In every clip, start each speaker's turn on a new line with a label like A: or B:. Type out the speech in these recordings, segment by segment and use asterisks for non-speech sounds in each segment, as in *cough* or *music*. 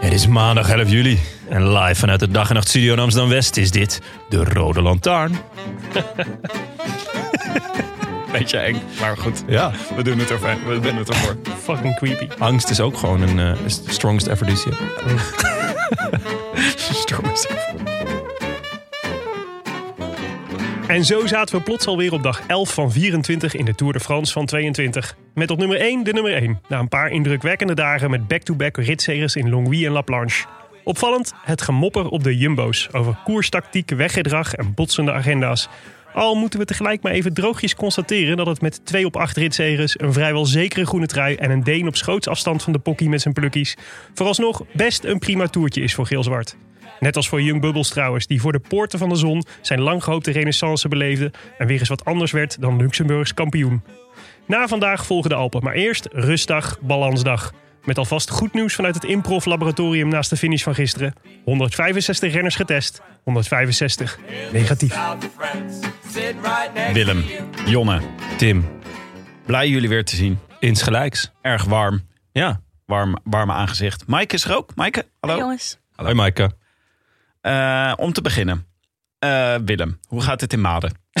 A: Het is maandag 11 juli en live vanuit de Dag en Nacht Studio in Amsterdam-West is dit de Rode Lantaarn. *laughs*
B: Beetje eng, maar goed.
A: Ja,
B: We doen het ervoor. We doen het ervoor.
C: Fucking creepy.
A: angst is ook gewoon een eh, is de strongest
B: *laughs*
A: aphrodisiac.
B: Stormers.
C: En zo zaten we plots alweer op dag 11 van 24 in de Tour de France van 22. Met op nummer 1 de nummer 1. Na een paar indrukwekkende dagen met back-to-back ritseries in Longwy en La Planche. Opvallend het gemopper op de jumbo's over koerstactiek, weggedrag en botsende agenda's. Al moeten we tegelijk maar even droogjes constateren dat het met 2 op 8 ritseries, een vrijwel zekere groene trui en een Deen op schootsafstand van de pokkie met zijn plukkies, vooralsnog best een prima toertje is voor Geel-Zwart. Net als voor Young Bubbles trouwens, die voor de poorten van de zon zijn lang gehoopte renaissance beleefde en weer eens wat anders werd dan Luxemburgs kampioen. Na vandaag volgen de Alpen, maar eerst rustdag, balansdag. Met alvast goed nieuws vanuit het improv-laboratorium naast de finish van gisteren. 165 renners getest, 165 negatief.
B: Willem, Jonne,
A: Tim,
B: blij jullie weer te zien.
A: insgelijks.
B: Erg warm.
A: Ja.
B: Warm, warm aangezicht. Maaike is er ook. Maaike,
A: Oh,
B: hallo.
D: Jongens,
A: Hoi Maaike.
B: Eh, om te beginnen. Eh, Willem, hoe gaat het in Maden?
A: *laughs*
B: *laughs*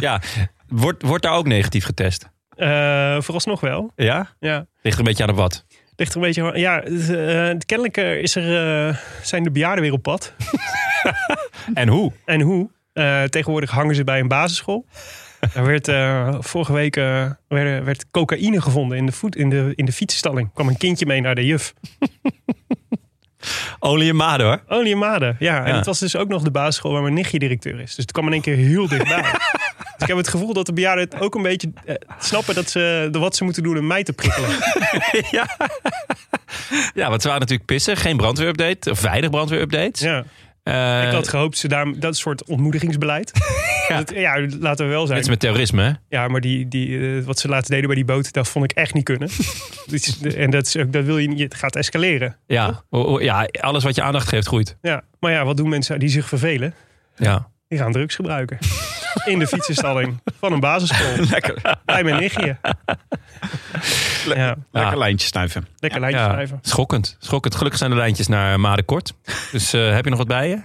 A: Ja, wordt, wordt daar ook negatief getest?
C: Eh vooralsnog wel,
A: Ja?
C: ja.
A: Ligt er een beetje aan de wat.
C: Ligt er een beetje... Ja, het, eh, kennelijk eh, is er, eh, zijn de bejaarden weer op pad.
A: En hoe?
C: En hoe? Eh, tegenwoordig hangen ze bij een basisschool. Er werd eh, vorige week eh, werd, werd cocaïne gevonden in de, voet, in, de, in de fietsenstalling. kwam een kindje mee naar de juf.
A: Olie en maden hoor.
C: Olie en Oh, maden. Ja, en
A: Ja.
C: het was dus ook nog de basisschool waar mijn nichtje directeur is. Dus het kwam in één keer
A: *laughs*
C: heel dichtbij. dus ik heb het gevoel dat de bejaarden het ook een beetje eh, snappen dat ze, de, wat ze moeten doen om mij te
A: *laughs*
C: prikkelen.
A: Ja, want ze waren natuurlijk pissen. Geen brandweerupdate. Of weinig brandweerupdates.
C: Ja.
A: Eh,
C: Ik had gehoopt ze daar dat soort ontmoedigingsbeleid.
A: *laughs* Ja.
C: Dat, ja, laten we wel zijn.
A: Net als met terrorisme hè?
C: Ja, maar die, die, eh, wat ze laatst deden bij die boot, dat vond ik echt niet kunnen. Dit is- en dat, is, ook- dat wil je niet, het gaat escaleren.
A: Ja. O- o- ja, alles wat je aandacht geeft groeit.
C: Ja. Maar ja, wat doen mensen die zich vervelen?
A: Ja.
C: Die gaan drugs gebruiken. In de fietsenstalling van een basisschool.
B: *laughs* Lekker,
C: Bij mijn nichtje. Ja,
B: *laughs* lekker
A: Ah.
B: lijntje snuiven.
C: lekker lijntje
A: Ja,
C: schrijven.
A: Schokkend. Schokkend. Gelukkig zijn de lijntjes naar Maden kort. Dus eh, heb je nog wat bij je?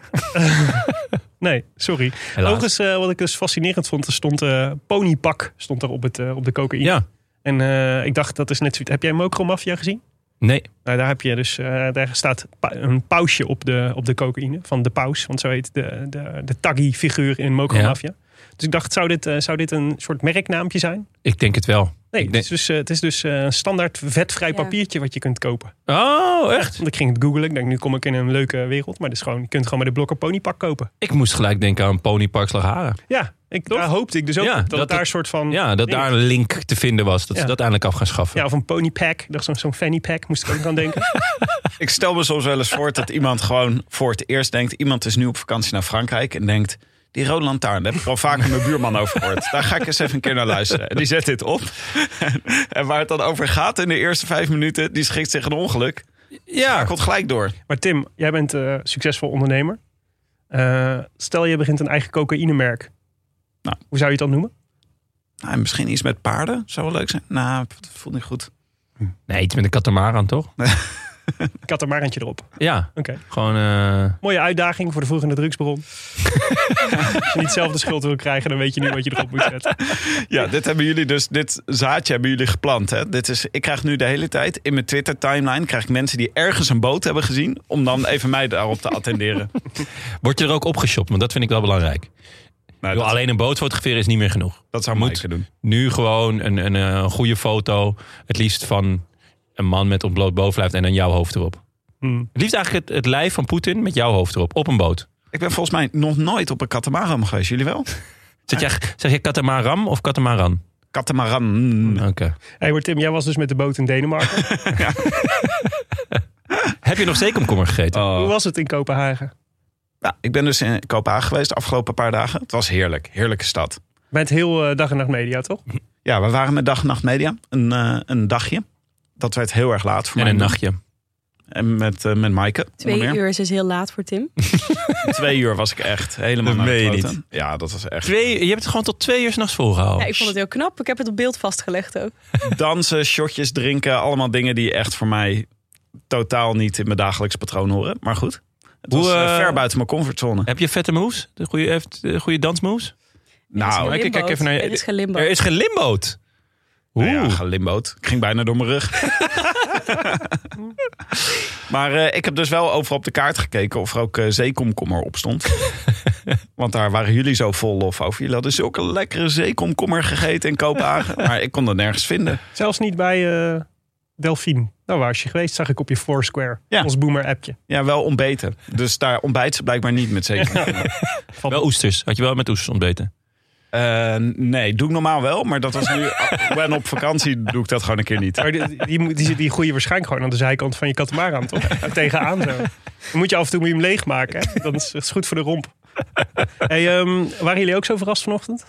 C: Nee, sorry. Overigens, eh, wat ik dus fascinerend vond, er stond eh, ponypak stond er op, het, eh, op de cocaïne.
A: Ja.
C: En eh, ik dacht, dat is net zoiets. Heb jij Mocro Mafia gezien?
A: Nee.
C: Nou, daar heb je dus, eh, daar staat pa- een pausje op de, op de cocaïne van de paus. Want zo heet de, de, de taggy-figuur in Mokro
A: Ja.
C: Mafia. Dus ik dacht, zou dit, eh, zou dit een soort merknaampje zijn?
A: Ik denk het wel. Ik
C: Nee, het
A: denk-
C: is dus, eh, het is dus eh, een standaard vetvrij
D: Ja.
C: papiertje wat je kunt kopen.
A: Oh, echt?
C: Want ik ging het googlen. Ik denk, nu kom ik in een leuke wereld. Maar dus gewoon, je kunt gewoon met de blokker ponypak kopen.
A: Ik moest gelijk denken aan Ponypark Slagharen.
C: Ja, ik, daar hoopte ik dus ook
A: Ja,
C: op, dat,
A: dat
C: het daar
A: het-
C: een soort van...
A: Ja, dat daar een link te vinden was. Dat ze
C: Ja.
A: dat eindelijk af gaan schaffen.
C: Ja, of een ponypack. Dat is zo'n- zo'n fanny pack, moest ik ook aan
A: *laughs*
C: denken.
B: Ik stel me soms wel eens voor dat iemand gewoon voor het eerst denkt... iemand is nu op vakantie naar Frankrijk en denkt... die rode lantaarn, daar heb ik al vaker mijn buurman over gehoord. Daar ga ik eens even een keer naar luisteren. En die zet dit op. En waar het dan over gaat in de eerste vijf minuten... die schikt zich een ongeluk.
A: Ja.
B: Hij komt gelijk door.
C: Maar Tim, jij bent eh, succesvol ondernemer. Eh, stel je begint een eigen cocaïnemerk.
B: Nou.
C: Hoe zou je het dan noemen?
B: Nou, misschien iets met paarden zou wel leuk zijn. Nou, dat voelt niet goed.
A: Nee, iets met een katamaran, toch?
C: Katamarantje erop.
A: Ja,
C: Oké.
A: gewoon... eh,
C: Mooie uitdaging voor de vroegende
B: *laughs*
C: drugsbron. Als je niet zelf de schuld wil krijgen, dan weet je nu wat je erop moet zetten.
B: Ja, dit hebben jullie dus, dit zaadje hebben jullie geplant. Hè? Dit is, ik krijg nu de hele tijd in mijn Twitter timeline krijg ik mensen die ergens een boot hebben gezien, om dan even mij daarop te attenderen.
A: Word je er ook opgeshopt? Want dat vind ik wel belangrijk. Ik
B: Nou,
A: bedoel,
B: dat,
A: alleen een boot fotograferen is niet meer genoeg.
B: *laughs* dat zou
A: moet.
B: moeten doen.
A: Nu gewoon een, een, eh, goede foto. Het liefst van een man met ontbloot bovenlijf en dan jouw hoofd erop.
C: Hm.
A: Het liefst eigenlijk het, het lijf van Poetin met jouw hoofd erop. Op een boot.
B: Ik ben volgens mij nog nooit op een katamaran geweest. Jullie wel?
A: Zeg jij, zeg jij katamaram of katamaran?
B: Katamaran.
A: Oké.
C: Hey, maar Tim, jij was dus met de boot in Denemarken.
A: Heb je nog zeekomkommer gegeten?
B: Oh.
C: Hoe was het in Kopenhagen?
B: Nou, ik ben dus in Kopenhagen geweest de afgelopen paar dagen. Het was heerlijk. Heerlijke stad.
C: Met heel eh, dag en nacht media, toch?
B: Ja, we waren met dag en nacht media. Een, eh, een dagje. Dat werd heel erg laat voor
A: en
B: mij.
A: een nachtje.
B: En met, eh, met Maaike. onder
D: Twee
B: meer.
D: uur is dus heel laat voor Tim.
B: Twee uur was ik echt helemaal
E: Dat
B: naar de
E: meen je
B: kloten. Ja, dat was echt.
A: Twee, je hebt het gewoon tot twee uur s'nachts volgehouden.
D: Ja, ik vond het heel knap. Ik heb het op beeld vastgelegd ook.
B: Dansen, shotjes drinken. Allemaal dingen die echt voor mij totaal niet in mijn dagelijks patroon horen. Maar goed. Het
A: Hoe,
B: was eh,
A: eh,
B: ver buiten mijn comfortzone.
A: Heb je vette moves? De goede, heeft- de goede dansmoves?
B: nou,
A: kijk, kijk even naar je-
D: Er is gelimbo.
A: Er is gelimboot. Oeh.
B: Nou ja, gelimboot. Ik ging bijna door mijn rug. *laughs* maar eh, ik heb dus wel overal op de kaart gekeken of er ook eh, zeekomkommer op
A: *laughs*
B: stond. Want daar waren jullie zo vol lof over. Jullie hadden zulke lekkere zeekomkommer gegeten in
A: *laughs*
B: Kopenhagen. Maar ik kon dat nergens vinden.
C: Zelfs niet bij eh Delphine. Nou, waar is je geweest? Zag ik op je Foursquare.
B: Ja.
C: Ons boomer-appje.
B: Ja, wel ontbeten. Dus daar ontbijt ze blijkbaar niet
A: *laughs*
B: met zeekomkommer.
A: Wel oesters. Had je wel met oesters ontbeten?
B: Eh, nee, doe ik normaal wel. Maar dat was nu... *laughs* Ik ben op vakantie, doe ik dat gewoon een keer niet.
C: Maar die, die, moet- die, die groeien waarschijnlijk gewoon aan de zijkant van je katamaran, toch? *laughs* Er Tegenaan zo. Dan moet je af en toe moet je hem leegmaken. Hè? Dat is, is goed voor de romp. Hey, ehm, waren jullie ook zo verrast vanochtend?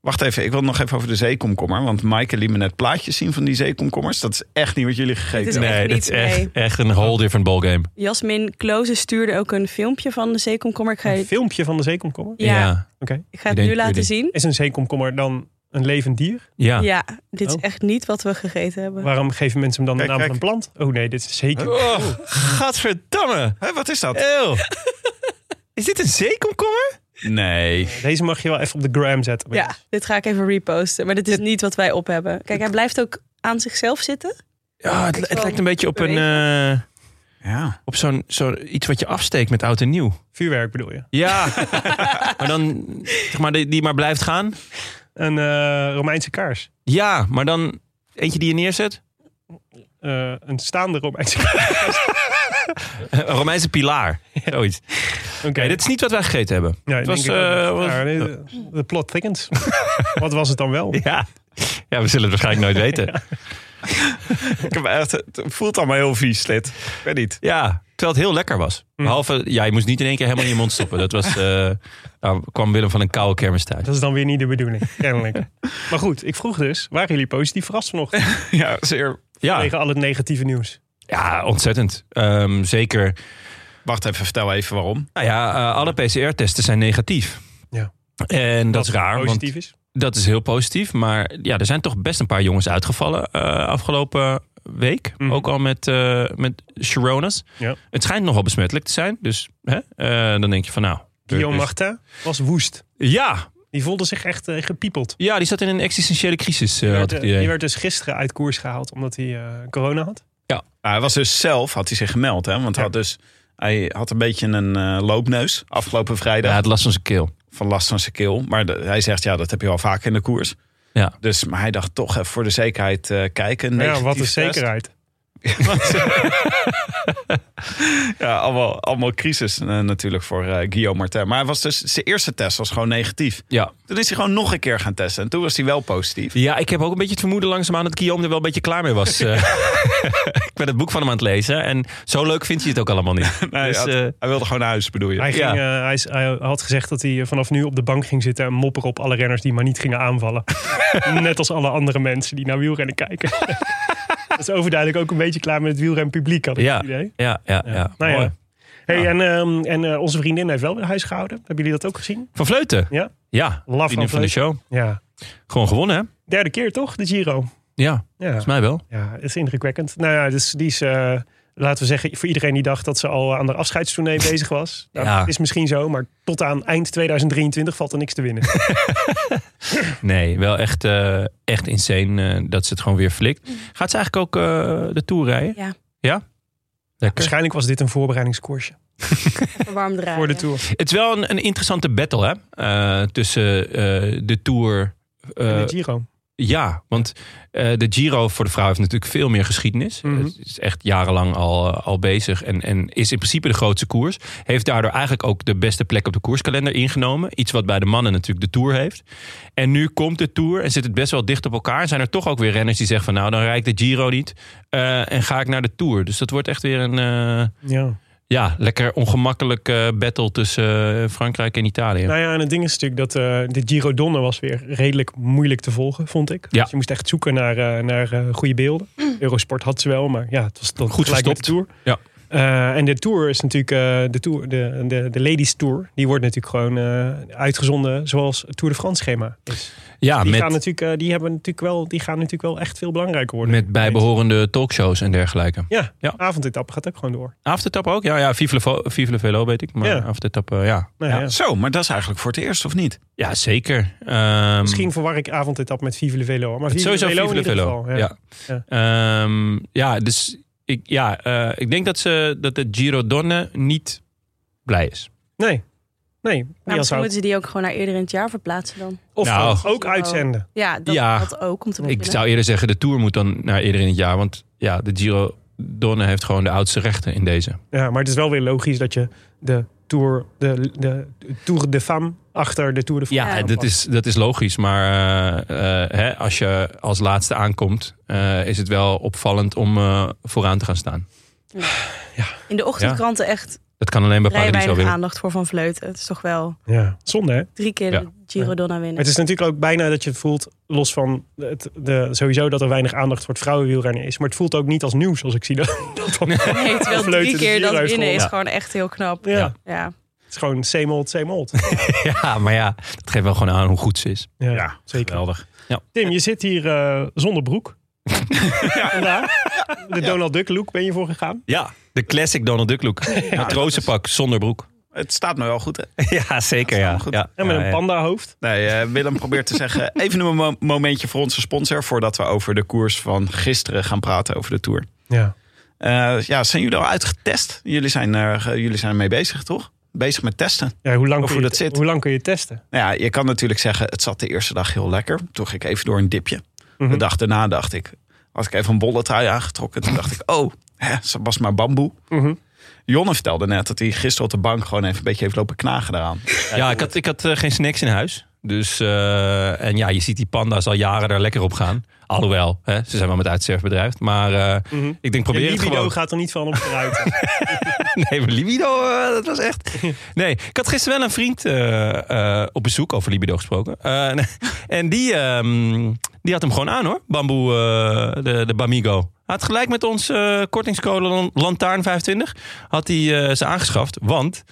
B: Wacht even, ik wil nog even over de zeekomkommer. Want Maaike liet me net plaatjes zien van die zeekomkommers. Dat is echt niet wat jullie gegeten
D: is echt
A: nee, dat
D: niet,
A: is echt,
D: nee.
A: echt een whole different ballgame.
D: Jasmin Kloze stuurde ook een filmpje van de zeekomkommer. Ik ga,
C: Een
D: je-
C: filmpje van de zeekomkommer?
D: ja,
A: Ja.
D: ik ga het
A: Ik denk
D: nu laten
A: jullie.
D: zien.
C: Is een zeekomkommer dan een levend dier?
A: Ja.
D: Ja, dit is
C: Oh.
D: echt niet wat we gegeten hebben.
C: Waarom geven mensen hem dan de
B: Kijk,
C: naam van een
B: kijk.
C: plant? Oh nee, dit is zeker.
A: Oh, gadverdamme.
B: Hé, wat is dat?
D: *laughs*
A: Eeuw. Is dit een zeekomkommer?
B: Nee.
C: Deze mag je wel even op de gram zetten.
D: Ja, dit ga ik even reposten. Maar dit is niet wat wij op hebben. Kijk, hij blijft ook aan zichzelf zitten.
A: Ja, het,
D: is
A: het
D: wel
A: lijkt een beetje op, een, eh,
B: Ja.
A: op zo'n, zo iets wat je afsteekt met oud en nieuw.
C: Vuurwerk bedoel je?
A: *laughs* Ja. maar dan, zeg maar, die, die maar blijft gaan.
C: Een eh, Romeinse kaars.
A: Ja, maar dan eentje die je neerzet.
C: Eh, een staande Romeinse *laughs* kaars.
A: *laughs* Een Romeinse pilaar. Zoiets.
C: Oké,
A: Nee, dit is niet wat wij gegeten hebben.
C: Ja,
A: het
C: denk
A: was,
C: ik ook niet.
A: eh, was-
C: Nou, nee, de- de plot thickens. *laughs* Wat was het dan wel?
A: Ja. ja, we zullen het waarschijnlijk nooit
B: *laughs*
A: weten.
B: Ik heb echt, het voelt allemaal heel vies, dit. Hm. Ik weet niet.
A: Ja, terwijl het heel lekker was. Behalve, ja, je moest niet in één keer helemaal in je mond stoppen. Dat was, eh, daar kwam Willem van een koude kermis thuis.
C: Dat is dan weer niet de
A: *laughs*
C: bedoeling, kennelijk. Maar goed, ik vroeg dus, waren jullie positief verrast vanochtend
B: Ja, zeer.
A: Ja,
C: tegen al het negatieve nieuws?
A: ja ontzettend. Ehm, zeker,
B: Wacht even, vertel even waarom.
A: nou ja, eh, alle PCR-testen zijn negatief.
C: Ja.
A: En dat is raar, want
C: Positief is?
A: Dat is heel positief. Maar ja, er zijn toch best een paar jongens uitgevallen eh, afgelopen week.
C: Mhm.
A: Ook al met, eh met Sharonas.
C: Ja.
A: Het schijnt nogal besmettelijk te zijn. Dus hè, eh, dan denk je van nou...
C: Guillaume
A: dus-
C: Martin was woest.
A: Ja,
C: Die voelde zich echt eh, gepiepeld.
A: ja, die zat in een existentiële crisis, eh,
C: Die
A: had
C: werd,
A: ik het
C: eh, die
A: idee.
C: werd dus gisteren uit koers gehaald omdat hij eh, corona had.
B: Nou, hij was dus zelf, had hij zich gemeld, hè? Want hij,
C: Ja.
B: had dus, hij had een beetje een eh, loopneus afgelopen vrijdag.
A: Ja, het last van zijn keel.
B: Van last van zijn keel. Maar de- hij zegt, ja, dat heb je al vaak in de koers.
A: Ja.
B: Dus, maar hij dacht toch even voor de zekerheid eh, kijken.
C: Maar ja, wat een
B: Negatief test.
C: zekerheid.
B: Ja, allemaal, allemaal crisis eh, natuurlijk voor eh, Guillaume Martin. Maar hij was dus, zijn eerste test was gewoon negatief.
A: Ja.
B: Toen is hij gewoon nog een keer gaan testen. En toen was hij wel positief.
A: ja, ik heb ook een beetje het vermoeden langzaamaan dat Guillaume er wel een beetje klaar mee was.
C: *laughs*
A: eh. ik ben het boek van hem aan het lezen. En zo leuk vindt hij het ook allemaal
C: *laughs*
A: niet.
B: Nee,
A: Dus,
B: hij, had-
A: eh,
B: hij wilde gewoon naar huis, bedoel je?
C: Hij, ging,
A: Ja.
C: eh, hij, is- hij had gezegd dat hij eh, vanaf nu op de bank ging zitten en mopperen op alle renners die maar niet gingen
A: *laughs*
C: aanvallen. Net als alle andere mensen die naar wielrennen kijken. dat is overduidelijk ook een beetje klaar met het wielrenpubliek, had ik
A: ja,
C: het idee.
A: ja, ja, ja.
C: Nou ja.
A: Mooi.
C: Hey, En, ehm, en eh, onze vriendin heeft wel weer huis gehouden. Hebben jullie dat ook gezien?
A: Van Vleuten.
C: Ja.
A: Ja,
C: Laf
A: vriendin van de show.
C: Ja.
A: Gewoon gewonnen, hè?
C: Derde keer toch, de Giro?
A: Ja,
C: Ja,
A: volgens mij wel.
C: ja het is indrukwekkend. Nou ja, dus die is eh, laten we zeggen, voor iedereen die dacht dat ze al aan de
A: *laughs*
C: afscheidstournee bezig was. Nou,
A: Ja.
C: dat is misschien zo, maar tot aan eind 2023 valt er niks te winnen.
A: *laughs* Nee, wel echt, eh, echt insane eh, dat ze het gewoon weer flikt. Gaat ze eigenlijk ook eh, de Tour rijden?
D: Ja.
A: Ja? Lekker.
C: Waarschijnlijk was dit een voorbereidingskoersje
A: *laughs*
D: Verwarmd draaien.
C: voor de Tour.
A: Het is wel een, een interessante battle hè? eh, tussen eh, de Tour... eh,
C: en de Giro.
A: Ja, want eh, de Giro voor de vrouw heeft natuurlijk veel meer geschiedenis.
C: Mhm.
A: Het is echt jarenlang al, eh, al bezig en, en is in principe de grootste koers. Heeft daardoor eigenlijk ook de beste plek op de koerskalender ingenomen. Iets wat bij de mannen natuurlijk de Tour heeft. En nu komt de Tour en zit het best wel dicht op elkaar. Zijn er toch ook weer renners die zeggen van nou, dan rijd ik de Giro niet. eh, en ga ik naar de Tour. Dus dat wordt echt weer een eh,
C: Ja.
A: ja, lekker ongemakkelijk eh, battle tussen eh, Frankrijk en Italië.
C: Nou ja, en het ding is natuurlijk dat eh, de Giro Donne was weer redelijk moeilijk te volgen, vond ik.
A: Ja. Mm.
C: Dus je moest echt zoeken naar, eh, naar eh, goede beelden. Eurosport had ze wel, maar ja, het was dan
A: Goed
C: gelijk met de Tour.
A: verstopt. Ja.
C: Eh, en de Tour is natuurlijk eh, de, tour, de, de, de Ladies Tour. Die wordt natuurlijk gewoon eh, uitgezonden zoals het Tour de France schema is.
A: ja,
C: die,
A: Ah, met,
C: gaan natuurlijk, eh, die, hebben natuurlijk wel, die gaan natuurlijk wel echt veel belangrijker worden.
A: met bijbehorende talkshows en dergelijke.
C: Ja,
A: Ja.
C: avondetappe gaat ook gewoon door.
A: Aftertap ook? Ja, ja Vive, le Vo- Vive le Velo weet ik. Maar
C: Ja.
A: Aftertap, eh, ja.
C: Nou,
A: ja.
C: ja.
B: Zo, maar dat is eigenlijk voor het eerst, of niet?
A: Ja, zeker. Ehm,
C: Misschien verwar ik avondetappe met Vive le Velo. Maar
A: het
C: Vive le
A: sowieso
C: Velo
A: Vive
C: in
A: le
C: ieder
A: Velo.
C: geval.
A: Ja, ja. ja dus ik, ja, eh, ik denk dat, ze, dat de Giro Donne niet blij is.
C: Nee, nee.
D: Maar
C: Ja,
D: Nou, misschien
C: zou-
D: moeten ze die ook gewoon naar eerder in het jaar verplaatsen dan.
C: Of
A: Nou.
C: dat ook uitzenden.
D: Ja, dat,
A: Ja.
D: dat ook om te
A: Ik
D: beginnen.
A: zou eerder zeggen, de Tour moet dan naar eerder in het jaar. Want ja, de Giro Donne heeft gewoon de oudste rechten in deze.
C: Ja, maar het is wel weer logisch dat je de Tour de, de, tour de Femme achter de Tour de France
A: Ja,
C: aanpakt.
A: dat Eh, is, dat is logisch. Maar eh, eh, hè, als je als laatste aankomt, eh, is het wel opvallend om eh, vooraan te gaan staan.
D: In de ochtendkranten echt
A: Dat kan alleen bij
D: rij
A: Paradiso
D: weinig
A: winnen.
D: aandacht voor Van Vleuten. Het is toch wel
C: Ja, zonde hè?
D: drie keer
A: Ja.
D: de Giro Donna
C: Maar
D: winnen.
C: het is natuurlijk ook bijna dat je voelt, los van het, de, sowieso dat er weinig aandacht voor het vrouwenwielrennen is. Maar het voelt ook niet als nieuws als ik zie dat. *laughs* dat dan-
D: *laughs* Nee, terwijl
C: Vleuten
D: drie
C: de
D: keer
C: Giro
D: dat
C: heeft
D: winnen is
C: gewonnen.
D: gewoon echt heel knap.
C: Ja.
A: Ja.
D: Ja.
C: Het is gewoon same old, same old.
A: Ja, maar ja, dat geeft wel gewoon aan hoe goed ze is.
C: Ja,
B: zeker. Geweldig.
C: Tim, je zit hier eh, zonder broek. Vandaag. De Donald Duck look ben je voor gegaan.
A: Ja, de classic Donald Duck *laughs* look. Matrozenpak zonder broek.
B: Het staat me wel goed, hè?
A: *laughs* Ja, zeker
B: ja.
A: ja.
B: Ja,
C: En met een panda hoofd.
B: Nee, eh, Willem probeert te zeggen, even een mo- momentje voor onze sponsor... voordat we over de koers van gisteren gaan praten over de Tour.
C: Ja.
B: Eh, ja, zijn jullie al uitgetest? Jullie zijn, eh, ge- jullie zijn ermee bezig, toch? Bezig met testen.
C: ja hoe, lang
B: Of
C: kun
B: hoe
C: je,
B: dat zit.
C: hoe lang kun je testen?
B: Nou ja, je kan natuurlijk zeggen, het zat de eerste dag heel lekker. Toen ging ik even door een dipje.
C: Mhm.
B: De dag daarna dacht ik, had ik even een bolle trui aangetrokken. Toen
A: *laughs*
B: dacht ik, oh, hè, ze was maar bamboe.
C: Mhm.
B: Jonne vertelde net dat hij gisteren op de bank gewoon even een beetje heeft lopen knagen daaraan.
A: Ja, ik had, ik had eh, geen snacks in huis. Dus, eh, en ja, je ziet die panda's al jaren daar lekker op gaan. Alhoewel, hè, ze zijn wel met uitsterfbedrijf. Maar eh,
C: Mhm.
A: ik denk, probeer
C: Je
A: het
C: libido
A: gewoon.
C: gaat er niet van op vooruit.
A: *laughs* Nee, maar libido, eh, dat was *laughs* echt... Nee, ik had gisteren wel een vriend eh, eh, op bezoek, over libido gesproken. Eh, *laughs* en die, ehm, die had hem gewoon aan hoor, bamboe, eh, de, de Bamigo. Hij had gelijk met ons eh, kortingscode lan- Lantaarn 25, had hij eh, ze aangeschaft. Want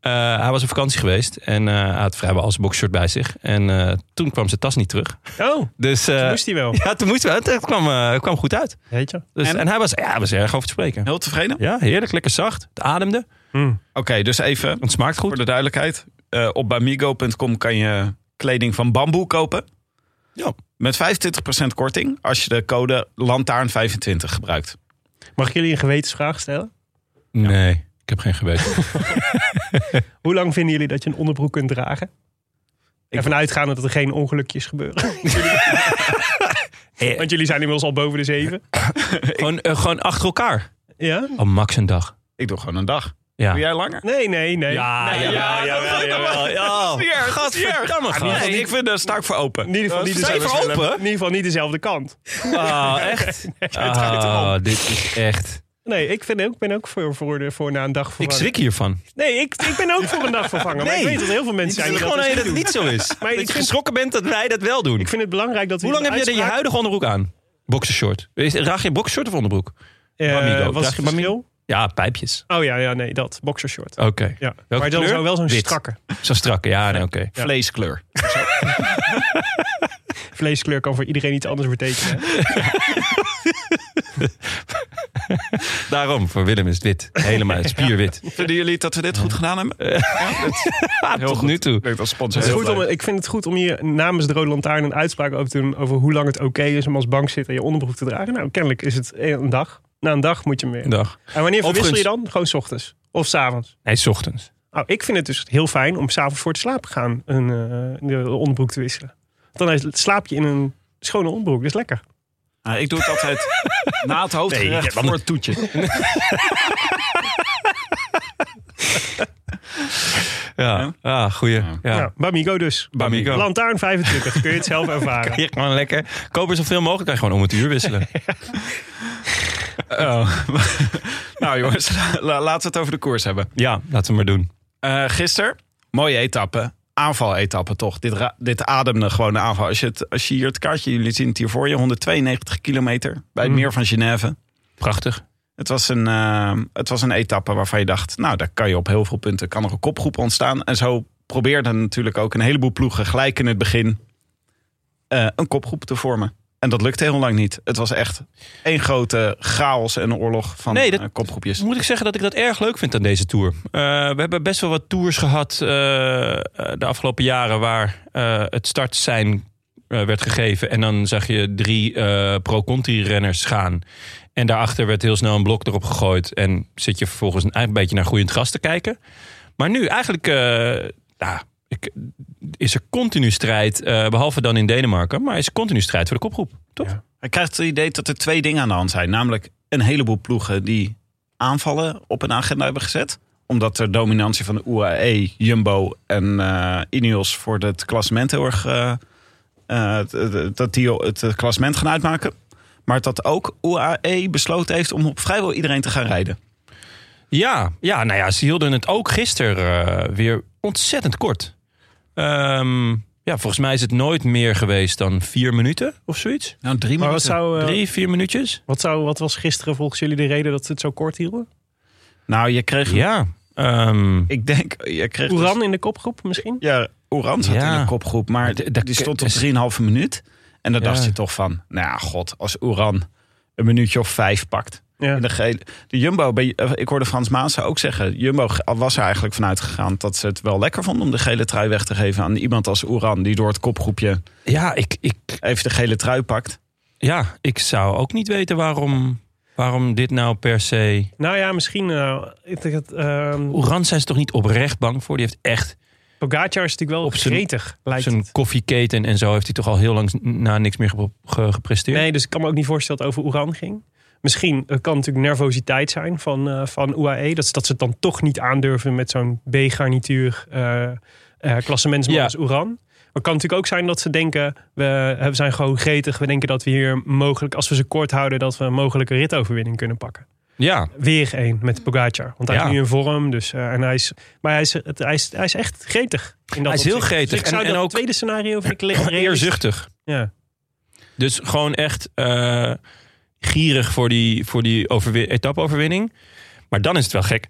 A: eh, hij was op vakantie geweest en eh, hij had vrijwel al zijn boxshirt bij zich. En eh, toen kwam zijn tas niet terug.
C: Oh,
A: Dus eh,
C: moest hij
A: *laughs*
C: wel.
A: ja, toen moest hij wel. Het kwam, eh, kwam goed uit.
C: Weet je?
A: Dus,
B: En?
A: en hij, was, ja, hij was erg over te spreken.
B: Heel tevreden?
A: Ja, heerlijk, lekker zacht. Het ademde.
B: Oké, dus even
A: Het smaakt goed.
B: voor de duidelijkheid. Eh, op bamigo.com kan je kleding van bamboe kopen.
A: Ja.
B: Met 25% korting als je de code lantaarn25 gebruikt.
C: Mag ik jullie een gewetensvraag stellen?
A: Nee, ik heb geen geweten.
C: Hoe lang vinden jullie dat je een onderbroek kunt dragen? Even uitgaande dat er geen ongelukjes
A: *laughs*
C: gebeuren. *laughs* Eh. Want jullie zijn inmiddels al boven de zeven.
A: gewoon, eh, gewoon achter elkaar.
C: Ja?
A: Oh, max een dag.
B: *laughs* Ik doe gewoon een dag.
A: Ja.
B: Doe jij langer?
C: Nee, nee, nee. nee,
A: ja, ja, ja, ja. Gadverdamme, gast. *laughs*
B: Nee, ik vind, daar sta ik voor open.
C: In ieder geval niet
A: Sta je
C: dezelfde-
A: voor open?
C: In ieder geval niet dezelfde kant.
A: Ah, echt? Ah, dit is echt...
C: Nee, ik vind, ook- ben ook voor, voor, de, voor na een dag
A: Ik
C: vervangen.
A: schrik hiervan.
C: Nee, ik, ik ben ook voor een dag vervangen. Maar ik
A: Nee.
C: weet dat heel veel
A: Ik
C: mensen zijn
A: vind
C: die
A: gewoon dat
C: dus
A: je dat
C: niet
A: het
C: doen.
A: niet zo *laughs* is.
C: Maar
A: dat je
C: ik vind-
A: geschrokken bent dat wij dat wel doen.
C: Ik vind het belangrijk dat we
A: Hoe lang
C: een
A: heb je je
C: uitspraak-
A: huidige onderbroek aan? Boxershort. Is- Draag je boxershort of onderbroek?
C: Eh,
A: Bamigo?
C: was
A: Draag
C: het
A: je Bamigo?
C: verschil?
A: Ja, pijpjes.
C: Oh ja, ja, nee, dat. Boxershort.
A: Oké.
C: Ja.
A: Welke
C: maar dan
A: kleur?
C: zou wel zo'n
A: Wit.
C: strakke
A: Zo strak. Ja, nee, oké.
B: Vleeskleur.
C: vleeskleur kan voor iedereen iets anders betekenen. hè?
A: Daarom, voor Willem is het wit. Helemaal *laughs* spierwit.
B: Vinden jullie dat we dit goed gedaan hebben? Ja, dat
A: Heel Ah, Tot nu toe.
B: klinkt als sponsor.
C: Het is
B: heel
C: goed om,
B: leuk.
C: ik vind het goed om hier namens de Rode Lantaarn een uitspraak over te doen... over hoe lang het oké is om als bank zitten je onderbroek te dragen. Nou, kennelijk is het een dag. Na een dag moet je meer.
A: Dag.
C: En wanneer verwissel je
A: Overigens-
C: dan? Gewoon 's ochtends. Of 's avonds.
A: Nee, 's ochtends.
C: Nou, ik vind het dus heel fijn om s'avonds voor het slapen gaan een eh, de onderbroek te wisselen. Dan is- slaap je in een schone onderbroek. Dat is lekker.
B: Nou, ik doe het *laughs* altijd na het hoofdgerecht
A: Nee, ja,
B: voor het toetje.
A: Ja, ah, goeie. Ja.
C: Ja, Bamigo dus.
A: Bamigo.
C: Lantaarn 25. Kun je het zelf ervaren.
A: Hier gewoon lekker. Kopen zoveel mogelijk. Kan je gewoon om het uur wisselen.
B: Oh. *laughs* nou jongens, *laughs* la- laten we het over de koers hebben.
A: *laughs* Ja, laten we maar doen.
B: Eh gisteren, mooie etappe. Aanvaletappe toch? Dit, ra- dit ademde gewoon de aanval. Als je, het, als je hier het kaartje, jullie zien het hier voor je. 192 kilometer bij het meer van Genève.
A: Mm. Prachtig.
B: Het was, een, eh, het was een etappe waarvan je dacht... nou, daar kan je op heel veel punten... kan er een kopgroep ontstaan. En zo probeerden natuurlijk ook een heleboel ploegen... gelijk in het begin eh, een kopgroep te vormen. En dat lukte heel lang niet. Het was echt één grote chaos en oorlog van
A: Nee, dat-
B: eh, kopgroepjes.
A: Dus Moet ik zeggen dat ik dat erg leuk vind aan deze tour. Eh, we hebben best wel wat tours gehad eh, de afgelopen jaren waar eh, het startsein eh, werd gegeven. En dan zag je drie eh, pro-Conti-renners gaan. En daarachter werd heel snel een blok erop gegooid. En zit je vervolgens een, een beetje naar groeiend gras te kijken. Maar nu eigenlijk eh, nou, ik, is er continu strijd. eh, behalve dan in Denemarken. Maar is er continu strijd voor de kopgroep. Toch?
C: Ja.
B: Hij krijgt het idee dat er twee dingen aan de hand zijn. Namelijk een heleboel ploegen die aanvallen op een agenda hebben gezet. Omdat er dominantie van de UAE, Jumbo en eh Ineos voor het klassement heel erg... eh, eh, het- het- dat die het eh, klassement gaan uitmaken. Maar dat ook UAE besloten heeft om op vrijwel iedereen te gaan rijden.
A: Ja, ja, nou ja, ze hielden het ook gisteren eh, weer ontzettend kort. Ehm, ja, volgens mij is het nooit meer geweest dan vier minuten of zoiets.
B: Nou, drie
C: Maar wat zou, eh,
A: Drie, vier minuutjes.
C: wat, zou, wat was gisteren volgens jullie de reden dat ze het zo kort hielden?
B: Nou, je kreeg...
C: Hm?
A: Ja. ehm,
B: *laughs* Ik denk... Je kreeg dus-
C: Oeran in de kopgroep misschien?
B: Ja, Oran zat
A: Ja.
B: in de kopgroep, maar
A: Maar d- dat-
B: die stond op 3,5 minuut. En dan
A: Ja.
B: dacht je toch van, nou ja, god, als Oran een minuutje of vijf pakt.
C: Ja.
B: En De, gele- de Jumbo, bij, eh, ik hoorde Frans Maassen ook zeggen, Jumbo ge- was er eigenlijk vanuit gegaan dat ze het wel lekker vonden om de gele trui weg te geven aan iemand als Oran, die door het kopgroepje
A: ja, ik, ik,
B: even de gele trui pakt.
A: ja, ik zou ook niet weten waarom, waarom dit nou per se...
C: Nou ja, misschien... eh, ik denk dat, ehm,
A: Oeran zijn ze toch niet oprecht bang voor? Die heeft echt
C: Pogacar is natuurlijk wel
A: Op zijn-
C: gretig, lijkt
A: zijn
C: het.
A: koffieketen en zo... heeft hij toch al heel lang na niks meer gep- ge- gepresteerd?
C: Nee, dus ik kan me ook niet voorstellen dat het over Oeran ging. Misschien eh, kan natuurlijk nervositeit zijn van, eh, van UAE. Dat, ze- dat ze het dan toch niet aandurven met zo'n B-garnituur eh eh klassementsman
A: Ja.
C: als Oeran. Maar het kan natuurlijk ook zijn dat ze denken, we, we zijn gewoon gretig. We denken dat we hier mogelijk, als we ze kort houden, dat we een mogelijke ritoverwinning kunnen pakken.
A: Ja,
C: Weer één met Pogacar. Want hij
A: Ja.
C: is nu in vorm. Dus, eh, en hij is, maar hij is, het, hij, is, hij is echt gretig. In dat
A: Hij is heel
C: opzicht. Dus
A: gretig.
C: ik zou
A: En- en
C: dat
A: ook-
C: tweede
A: *coughs*
C: scenario vind ik realistisch.
A: eerzuchtig.
C: Ja.
A: Dus gewoon echt eh, gierig voor die, voor die overwi- etappe-overwinning. Maar dan is het wel gek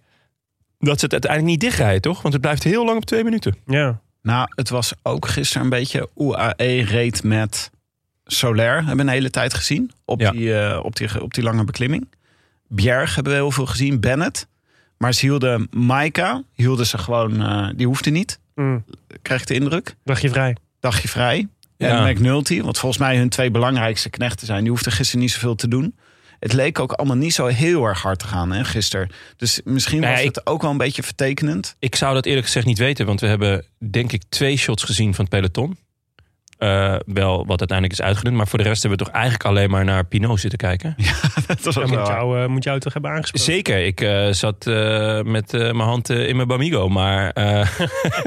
A: dat ze het uiteindelijk niet dichtrijden, toch? Want het blijft heel lang op twee minuten.
C: ja.
B: Nou, het was ook gisteren een beetje UAE reed met Soler, hebben we een hele tijd gezien, op,
A: Ja.
B: die, eh, op, die, op die lange beklimming. Bjerg hebben we heel veel gezien, Bennett. Maar ze hielden Maika, hielden ze gewoon, eh, die hoefde niet,
C: Mm.
B: krijg ik de indruk.
C: Dagje vrij.
B: Dagje vrij.
A: Ja.
B: En McNulty, want volgens mij hun twee belangrijkste knechten zijn, die hoefden gisteren niet zoveel te doen. Het leek ook allemaal niet zo heel erg hard te gaan hè, gisteren. Dus misschien
A: Nee,
B: was
A: ik-
B: het ook wel een beetje
A: *laughs*
B: vertekenend.
A: Ik zou dat eerlijk gezegd niet weten, want we hebben denk ik twee shots gezien van het peloton. Eh, wel wat uiteindelijk is uitgedund, maar voor de rest hebben we toch eigenlijk alleen maar naar Pinot zitten kijken.
B: Dat was
C: Dan
B: wel-
C: moet jou, eh, moet jou toch hebben aangesproken.
A: Zeker, ik eh, zat eh, met eh, mijn hand eh, in mijn Bamigo, maar eh,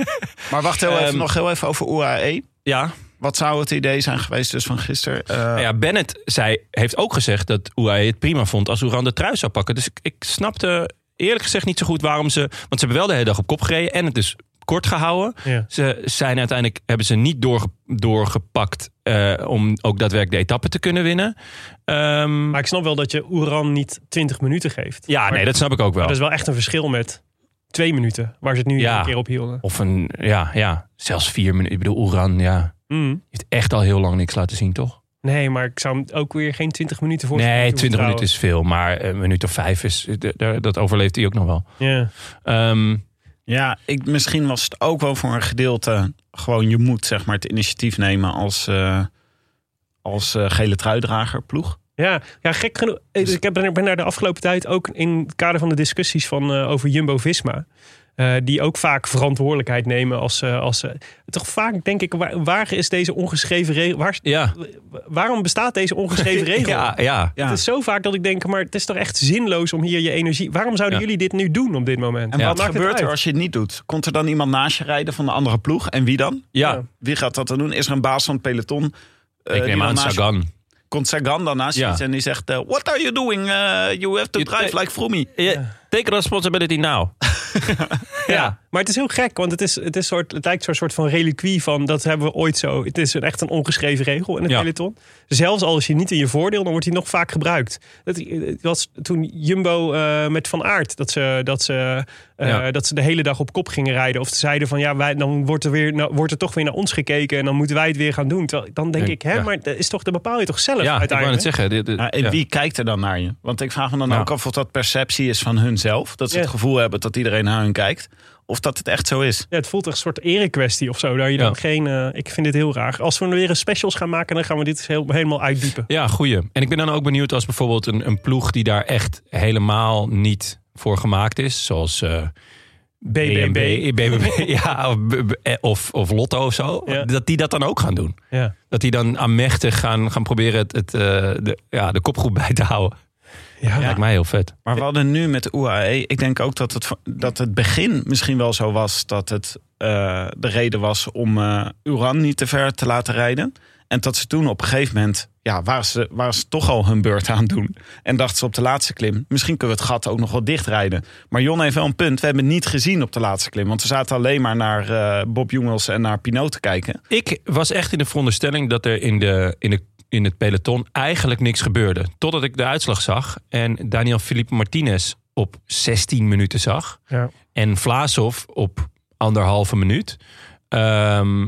A: *laughs*
B: Maar wacht heel even,
A: Ehm,
B: nog heel even over E. UAE.
A: ja,
B: Wat zou het idee zijn geweest dus van gisteren? Eh,
A: Nou ja, Bennett zei, heeft ook gezegd dat UAE het prima vond als Oeran de trui zou pakken. Dus ik, ik snapte eerlijk gezegd niet zo goed waarom ze... Want ze hebben wel de hele dag op kop gereden en het is kort gehouden.
C: Ja.
A: Ze zijn uiteindelijk, hebben ze niet doorge, doorgepakt eh, om ook daadwerkelijk de etappe te kunnen winnen. Ehm,
C: Maar ik snap wel dat je Oeran niet 20 minuten geeft.
A: ja,
C: Maar
A: nee, dat snap ik ook wel.
C: dat is wel echt een verschil met twee minuten. Waar ze het nu
A: Ja.
C: een keer op hielden.
A: Of een, ja, ja, zelfs vier minuten. Ik bedoel, Oeran, ja,
C: Mm.
A: heeft echt al heel lang niks laten zien, toch?
C: Nee, maar ik zou hem ook weer geen 20 minuten voor.
A: Nee,
C: moeten
A: 20 minuten
C: vertrouwen.
A: is veel. Maar een minuut of vijf is. d- d- Dat overleeft hij ook nog wel.
C: Ja.
A: Ehm,
B: Ja, ik, misschien was het ook wel voor een gedeelte gewoon je moet zeg maar, het initiatief nemen als, eh, als eh, gele truidrager ploeg.
C: Ja, ja, gek genoeg. eh, dus Ik heb- ben daar de afgelopen tijd ook in het kader van de discussies van, eh, over Jumbo-Visma. eh, die ook vaak verantwoordelijkheid nemen als... eh, als eh, toch vaak denk ik, waar, waar is deze ongeschreven regel? Waar,
A: ja.
C: waarom bestaat deze ongeschreven regel?
A: ja, ja.
B: Ja.
C: Het is zo vaak dat ik denk, maar het is toch echt zinloos om hier je energie... Waarom zouden
A: Ja.
C: jullie dit nu doen op dit moment?
B: En
A: Ja.
B: wat
C: Maakt het
B: gebeurt er
C: uit?
B: als je het niet doet? Komt er dan iemand naast je rijden van de andere ploeg? En wie dan?
A: Ja,
C: Ja.
B: Wie gaat dat dan doen? Is er een baas van het peloton? eh,
A: ik
B: die dan
A: neem aan
B: naast je-
A: Sagan.
B: Komt Sagan dan naast je
A: Ja.
B: zitten en die zegt... eh, What are you doing? Eh, you have to
A: Je-
B: drive like Froomey.
A: Ja, take responsibility now.
C: Ja.
A: Ja.
C: maar het is heel gek, want het, is, het, is soort, het lijkt zo'n soort van reliquie van dat hebben we ooit zo. Het is een, echt een ongeschreven regel in het
A: Ja.
C: peloton. Zelfs als je niet in je voordeel, dan wordt die nog vaak gebruikt. Dat, het was toen Jumbo eh, met Van Aert, dat ze, dat, ze, eh,
A: Ja.
C: dat ze de hele dag op kop gingen rijden. Of ze zeiden van ja, wij, dan wordt er, weer, nou, wordt er toch weer naar ons gekeken en dan moeten wij het weer gaan doen. Terwijl, dan denk
A: Ja.
C: ik, hè, maar dat, is toch, dat bepaal je toch zelf
A: Ja, ik wou
C: uiteindelijk?
A: net zeggen. dit- dit-
B: Ja, en
A: ja.
B: wie kijkt er dan naar je? Want ik vraag me dan
A: Ja.
B: ook af of dat perceptie is van hunzelf. Dat ze
C: Ja.
B: het gevoel hebben dat iedereen naar hun kijkt. Of dat het echt zo is.
C: Ja, het voelt echt een soort erekwestie of zo. Daar je dan
A: Ja.
C: geen, eh, ik vind dit heel raar. Als we weer een specials gaan maken, dan gaan we dit eens heel, helemaal uitdiepen.
A: Ja, goeie. En ik ben dan ook benieuwd als bijvoorbeeld een, een ploeg die daar echt helemaal niet voor gemaakt is. Zoals eh
C: BBB.
A: BNB, BBB, ja, of, b- *laughs* b- eh, of, of Lotto of zo.
C: Ja.
A: Dat die dat dan ook gaan doen.
C: Ja.
A: Dat die dan aanmächtig gaan, gaan proberen het, het, eh, de, ja, de kop goed *laughs* bij te houden.
C: Ja.
A: Lijkt mij heel vet.
B: Maar we hadden nu met de UAE... Ik denk ook dat het, dat het begin misschien wel zo was... dat het eh, de reden was om eh, Uran niet te ver te laten rijden. En dat ze toen op een gegeven moment... Ja, waren ze, waren ze toch al hun beurt aan het doen. En dachten ze op de laatste klim... misschien kunnen we het gat ook nog wel dichtrijden. Maar Jon heeft wel een punt. We hebben het niet gezien op de laatste klim. Want we zaten alleen maar naar eh, Bob Jungels en naar Pinot te kijken.
A: Ik was echt in de veronderstelling dat er in, de, in, de, in het peloton eigenlijk niks gebeurde. Totdat ik de uitslag zag en Daniel Felipe Martinez op 16 minuten zag.
C: Ja.
A: En Vlaasov op anderhalve minuut. Ehm,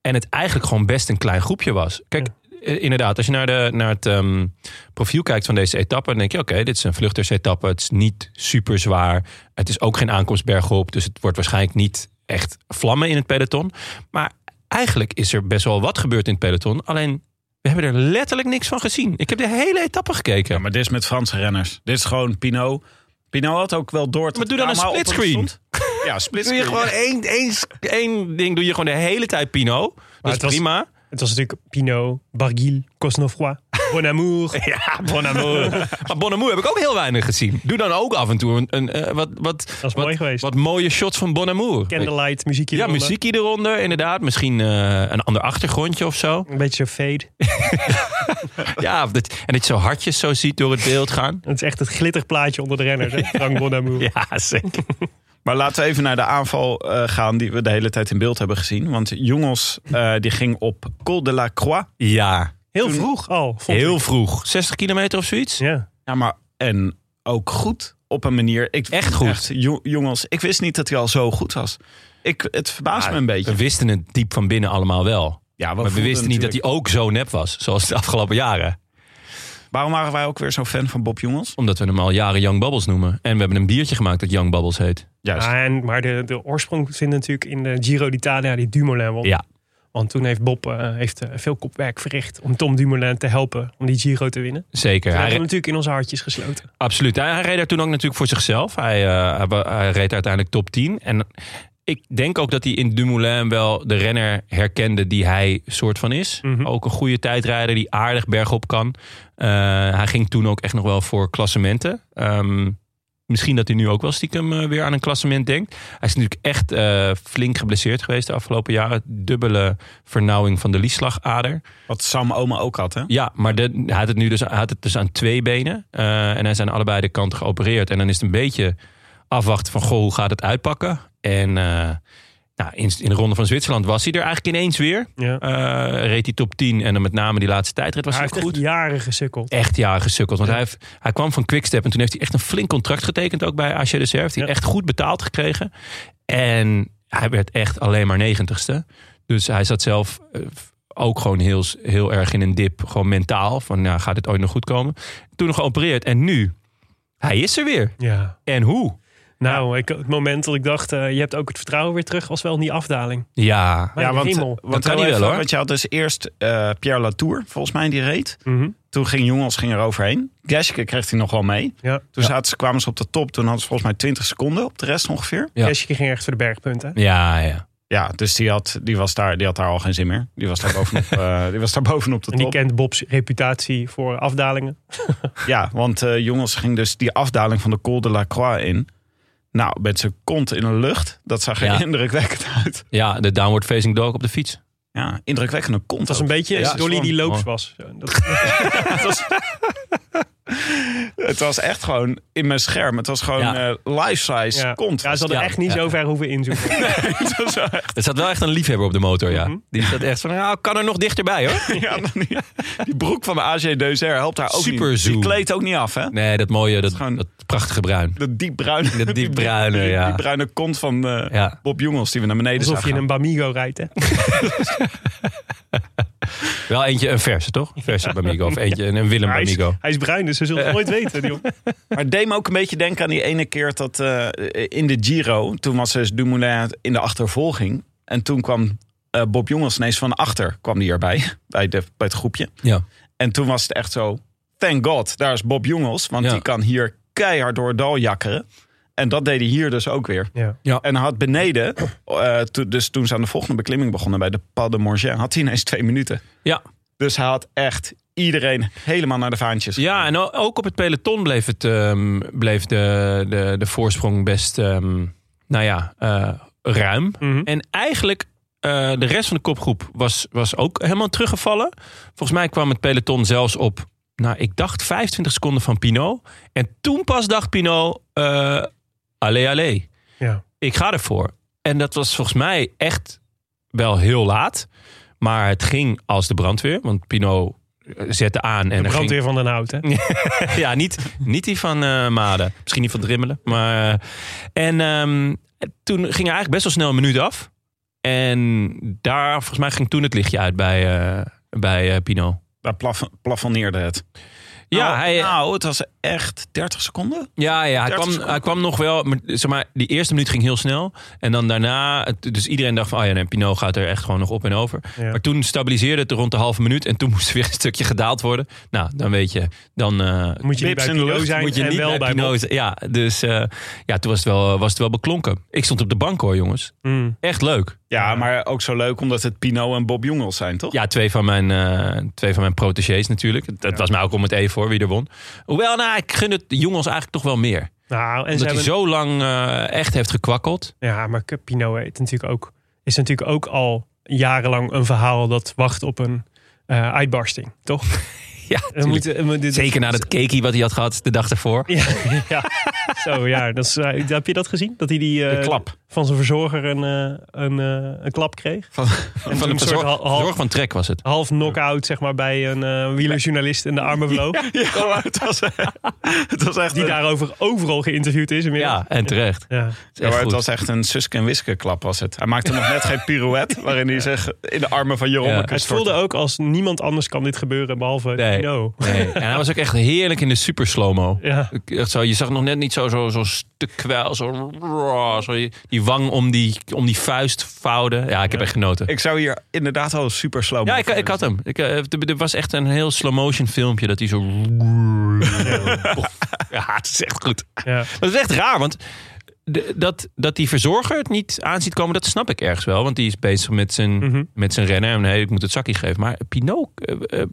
A: en het eigenlijk gewoon best een klein groepje was. Kijk, eh, inderdaad, als je naar, de, naar het ehm, profiel kijkt van deze etappe... dan denk je, oké, dit is een vluchtersetappe. Het is niet super zwaar. Het is ook geen aankomstberg op. Dus het wordt waarschijnlijk niet echt vlammen in het peloton. Maar eigenlijk is er best wel wat gebeurd in het peloton. Alleen, we hebben er letterlijk niks van gezien. Ik heb de hele etappe gekeken.
B: Ja, maar dit is met Franse renners. Dit is gewoon Pinot. Pinot had ook wel door. dat
A: Maar doe
B: het
A: dan een
B: allemaal op hem
A: splitscreen.
B: stond. Ja,
A: *laughs* Doe je
B: splitscreen.
A: gewoon één, één, één ding, doe je gewoon de hele tijd Pino. Dat is
C: het was-
A: prima.
C: Het was natuurlijk Pinot, Barguil,
A: *laughs*
C: Cosnefroid, Bonamour.
A: Ja, Bonamour. maar Bonamour heb ik ook heel weinig gezien. Doe dan ook af en toe een, een, eh, wat, wat,
C: Dat is
A: wat,
C: mooi geweest.
A: wat mooie shots van Bonamour.
C: Candlelight, muziekje.
A: Ja,
C: eronder.
A: muziekje eronder, inderdaad. Misschien eh, een ander achtergrondje of *laughs* zo.
C: Een beetje zo fade.
A: Ja, of dat, en dat je zo hartjes zo ziet door het beeld gaan.
C: Het is echt het glitterplaatje onder de renners.
A: *laughs*
C: hè? Frank Bonamour.
A: Ja, zeker.
B: Maar laten we even naar de aanval eh, gaan die we de hele tijd in beeld hebben gezien. Want Jongels eh, die ging op Col de la Croix.
A: Ja,
C: Heel vroeg al. vond ik.
A: heel vroeg. 60 kilometer of zoiets?
C: Ja.
B: Ja, maar en ook goed op een manier. Ik,
A: Echt goed.
B: Jo- Jongels, ik wist niet dat hij al zo goed was. Ik, het verbaast me een beetje.
A: We wisten het diep van binnen allemaal wel.
B: Ja,
A: Maar we
B: voelden
A: wisten niet dat hij
B: natuurlijk-
A: ook zo nep was, zoals de afgelopen jaren.
B: Waarom waren wij ook weer zo fan van Bob Jongels?
A: Omdat we hem al jaren Young Bubbles noemen. En we hebben een biertje gemaakt dat Young Bubbles heet.
B: Juist.
C: Ah, en, maar de, de oorsprong vindt natuurlijk in de Giro d'Italia, die Dumoulin won.
A: Ja.
C: Want toen heeft Bob eh, heeft, eh, veel kopwerk verricht om Tom Dumoulin te helpen om die Giro te winnen.
A: Zeker. Hij
C: We hebben hem
A: re-
C: natuurlijk in onze hartjes gesloten.
A: absoluut. Hij, hij reed daar toen ook natuurlijk voor zichzelf. Hij, eh, hij, wa- hij reed uiteindelijk top 10. En ik denk ook dat hij in Dumoulin wel de renner herkende die hij soort van is.
C: Mhm.
A: Ook een goede tijdrijder die aardig bergop kan. Eh, hij ging toen ook echt nog wel voor klassementen. Ehm, misschien dat hij nu ook wel stiekem eh, weer aan een klassement denkt. Hij is natuurlijk echt eh, flink geblesseerd geweest de afgelopen jaren. Dubbele vernauwing van de lieslagader.
B: Wat Sam Oma ook had, hè?
A: Ja, maar de, hij, had het nu dus, hij had het dus aan twee benen. eh, en hij zijn allebei de kanten geopereerd. En dan is het een beetje afwachten van... Goh, hoe gaat het uitpakken? En eh, nou, in, in de Ronde van Zwitserland was hij er eigenlijk ineens weer.
C: Ja.
A: Eh, reed hij top 10 en dan met name die laatste tijdrit was
C: Hij
A: hij
C: heeft
A: goed.
C: echt
A: Echt,
C: jaren gesukkeld.
A: jaren gesukkeld. Want hij, heeft, hij kwam van Quickstep en toen heeft hij echt een flink contract getekend... ook bij AG de Serre. Heeft hij
C: Ja.
A: echt goed betaald gekregen. En hij werd echt alleen maar negentigste. Dus hij zat zelf... eh, ook gewoon heel, heel erg in een dip. Gewoon mentaal. Van nou, gaat dit ooit nog goed komen? Toen nog geopereerd. En nu, hij is er weer.
C: Ja.
A: En hoe?
C: Nou, ik, het moment dat ik dacht, eh, je hebt ook het vertrouwen weer terug, was wel in die afdaling.
A: Ja.
C: Mijn
B: want,
C: hemel.
A: Dat
B: want,
A: kan
B: heel
A: niet wel,
B: even,
A: hoor.
B: want je had dus eerst eh, Pierre Latour, volgens mij, die reed.
C: Mhm.
B: Toen ging Jongens ging er overheen. Geske kreeg hij nog wel mee.
C: Ja.
B: Toen zaten ze, kwamen ze op de top. Toen hadden ze volgens mij 20 seconden op de rest ongeveer.
A: Ja.
C: Kesje ging echt voor de bergpunten.
A: Ja, ja.
B: Ja, dus die had, die was daar, die had daar al geen zin meer. Die was
C: *laughs*
B: daar bovenop, eh, die was daar bovenop de
C: En die
B: top.
C: kent Bob's reputatie voor afdalingen.
B: Ja, want eh, jongens ging dus die afdaling van de Col de la Croix in. Nou, met zijn kont in de lucht. Dat zag er
A: Ja.
B: indrukwekkend uit.
A: Ja, de downward facing dog op de fiets.
B: Ja, indrukwekkende kont.
C: Het was een beetje
A: Ja,
C: als Dolly die
A: man.
C: loops
A: Oh.
C: was. Zo, *laughs* Dat,
B: Het was echt gewoon in mijn scherm. Het was gewoon
A: Ja.
B: eh, life-size
C: ja.
B: kont.
C: ja, ze hadden
A: Ja,
C: echt niet
A: ja.
C: zo ver hoeven inzoomen.
B: Het *laughs* was wel echt-
A: Er zat wel echt een liefhebber op de motor, ja.
C: Mhm.
A: Die zat echt van, nou, kan er nog dichterbij, hoor.
B: ja, dan- ja. Die broek van de AG Deuzer helpt daar ook
A: Super
B: niet.
A: zoom.
B: Die kleedt ook niet af, hè?
A: Nee, dat mooie, dat,
B: Gewoon-
A: dat prachtige bruin.
B: Dat diepbruine,
A: Dat diepbruine,
B: *laughs* die-
A: ja.
B: die bruine kont van eh,
A: Ja.
B: Bob Jongels die we naar beneden
C: Alsof
B: zagen.
C: je in een Bamigo rijdt. Hè?
A: Wel eentje, een verse, toch? Een verse Bamigo. Of eentje, een- een Willem
C: Hij, is,
A: Bamigo.
C: hij is bruin, dus ze zullen het nooit weten. *laughs* joh.
B: Maar het deed me ook een beetje denken aan die ene keer dat eh, in de Giro, toen was dus Dumoulin in de achtervolging. En toen kwam eh, Bob Jongels ineens van achter, kwam die erbij, *laughs* bij, de, bij het groepje.
A: Ja.
B: En toen was het echt zo, thank god, daar is Bob Jongels. Want
A: Ja.
B: die kan hier keihard door het dal jakkeren. En dat deed hij hier dus ook weer.
C: Ja.
B: En hij had beneden, eh, to- dus toen ze aan de volgende beklimming begonnen bij de Pas de Morgin, had hij ineens twee minuten.
A: Ja.
B: Dus hij had echt iedereen helemaal naar de vaantjes.
A: ja, en o- ook op het peloton bleef, het, ehm, bleef de, de, de voorsprong best, ehm, nou ja, eh, ruim.
C: Mhm.
A: En eigenlijk, eh, de rest van de kopgroep was, was ook helemaal teruggevallen. Volgens mij kwam het peloton zelfs op, nou, ik dacht 25 seconden van Pinot. En toen pas dacht Pinot, eh allee, allee.
C: Ja.
A: ik ga ervoor. En dat was volgens mij echt wel heel laat. Maar het ging als de brandweer. Want Pinot eh, zette aan. En
C: De
A: er ging-
C: brandweer van Den Hout. Hè?
A: ja, niet, niet die van eh Maden. Misschien die van Drimmelen. Maar, eh, en ehm, toen ging er eigenlijk best wel snel een minuut af. En daar, volgens mij, ging toen het lichtje uit bij, eh, bij eh, Pinot.
B: Daar plaf, plafonneerde het.
A: Ja,
B: nou,
A: hij,
B: nou, het was echt 30 seconden.
A: Ja, ja hij,
B: 30
A: kwam,
B: seconden.
A: hij kwam nog wel. Maar, zeg maar, die eerste minuut ging heel snel. En dan daarna. het- Dus iedereen dacht van. Oh ja, nee, Pinot gaat er echt gewoon nog op en over.
C: Ja.
A: Maar toen stabiliseerde het rond de halve minuut. En toen moest er weer een stukje gedaald worden. Nou, dan weet je. Dan eh,
C: Moet je niet
B: Bips
C: bij
B: in de
C: Pino
B: lucht,
C: zijn
A: moet je
C: en
A: niet
C: wel bij Bob.
A: Pinot. Ja, dus eh, ja, toen was het, wel, was het wel beklonken. Ik stond op de bank hoor, jongens.
C: Mm.
A: Echt leuk.
B: Ja, maar ook zo leuk omdat het Pino en Bob Jongels zijn, toch?
A: Ja, twee van mijn, eh twee van mijn protégés natuurlijk. Dat was mij ook om het even voor wie er won. Hoewel, nou, ik gun het de jongens eigenlijk toch wel meer.
C: Nou, en ze
A: Omdat
C: hebben,
A: hij zo lang eh, echt heeft gekwakkeld.
C: Ja, maar Pino heet natuurlijk ook, is natuurlijk ook al jarenlang een verhaal dat wacht op een eh, uitbarsting, toch?
A: *laughs* Ja,
C: We
A: tuurlijk.
C: moeten- we- dit-
A: Zeker na dat cakey wat hij had gehad de dag ervoor.
C: Ja, *laughs* ja. Zo, ja. Dat is, eh, heb je dat gezien? Dat hij die eh,
B: De klap.
C: van zijn verzorger een, eh, een, eh, een klap kreeg?
B: Van,
C: En
A: Van
C: toen
A: de
C: een soort
A: verzorg,
C: hal- hal-
A: verzorg van Trek was het.
C: half knock-out zeg maar, bij een eh, wielerjournalist in de armen vloog.
B: ja, maar het was, *laughs* het was echt
C: Die
B: een,
C: daarover overal geïnterviewd is inmiddels.
A: Ja, en
C: *laughs*
A: terecht.
C: Ja.
A: Het is
B: ja,
A: echt
B: maar het
A: goed.
B: was echt een Suske en Wiske klap was het. Hij maakte nog net geen pirouette waarin hij zich in de armen van Jeroen
A: Ja.
B: ja.
C: Het voelde ook als niemand anders kan dit gebeuren behalve
A: Nee.
C: Pino.
A: Nee. En hij was ook echt heerlijk in de super slow-mo.
C: Ja.
A: Ik- echt zo, Je zag nog net niet zo, zo, zo stuk kwijl, zo, zo je- die wang om die, om die vuist vouwen. Ja, ik heb echt genoten.
B: Ik zou hier inderdaad al super slow
A: ja, ik, ik had hem. Ik, eh, er er was echt een heel slow-motion filmpje dat hij zo... Ja, het is echt goed.
C: Ja.
A: Dat is echt raar, want de- dat, dat die verzorger het niet aan ziet komen, dat snap ik ergens wel. Want die is bezig met zijn,
C: Mhm.
A: met zijn rennen. En hey, ik moet het zakje geven. Maar Pinot, eh, eh,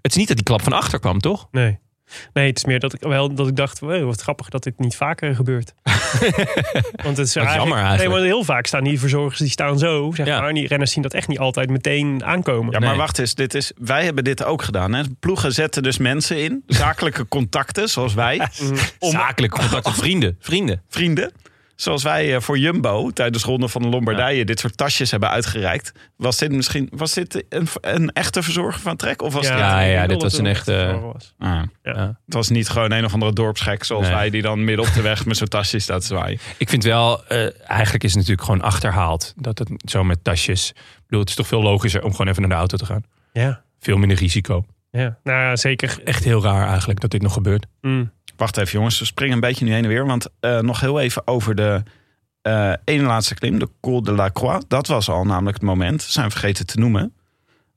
A: het is niet dat die klap van achter kwam, toch?
C: Nee. Nee, het is meer dat ik, wel, dat ik dacht, wow, wat grappig dat dit niet vaker gebeurt. Want het is
A: Wat jammer
C: Nee,
A: eigenlijk.
C: maar heel vaak staan die verzorgers, die staan zo, zeg
A: Ja.
C: maar. En die renners zien dat echt niet altijd meteen aankomen.
B: Ja, maar
A: Nee.
B: wacht eens. Dit is, wij hebben dit ook gedaan. Hè? Ploegen zetten dus mensen in. Zakelijke contacten, zoals wij.
A: *laughs* Zakelijk contact met vrienden. Vrienden.
B: Vrienden. Zoals wij eh, voor Jumbo tijdens de Ronde van de Lombardije dit soort tasjes hebben uitgereikt. Was dit misschien was dit een, een echte verzorger van Trek? Of was dit,
A: ja,
C: ik denk
A: dit
C: wel
A: was
C: dat
A: een
C: het
A: echte-
C: verzorger was.
B: Ah,
C: Ja.
B: het was niet gewoon een of andere dorpsgek zoals
A: Nee.
B: wij die dan midden op de weg met zo'n tasje staat te zwaaien.
A: Ik vind wel, eh, eigenlijk is het natuurlijk gewoon achterhaald. Dat het zo met tasjes. Ik bedoel, het is toch veel logischer om gewoon even naar de auto te gaan.
C: Ja,
A: Veel minder risico.
C: ja. Nou, ja, zeker.
A: Echt heel raar eigenlijk dat dit nog gebeurt.
C: Mm.
B: Wacht even jongens, we springen een beetje nu heen en weer. Want eh, nog heel even over de eh ene laatste klim, de Col de la Croix. Dat was al namelijk het moment, zijn we vergeten te noemen.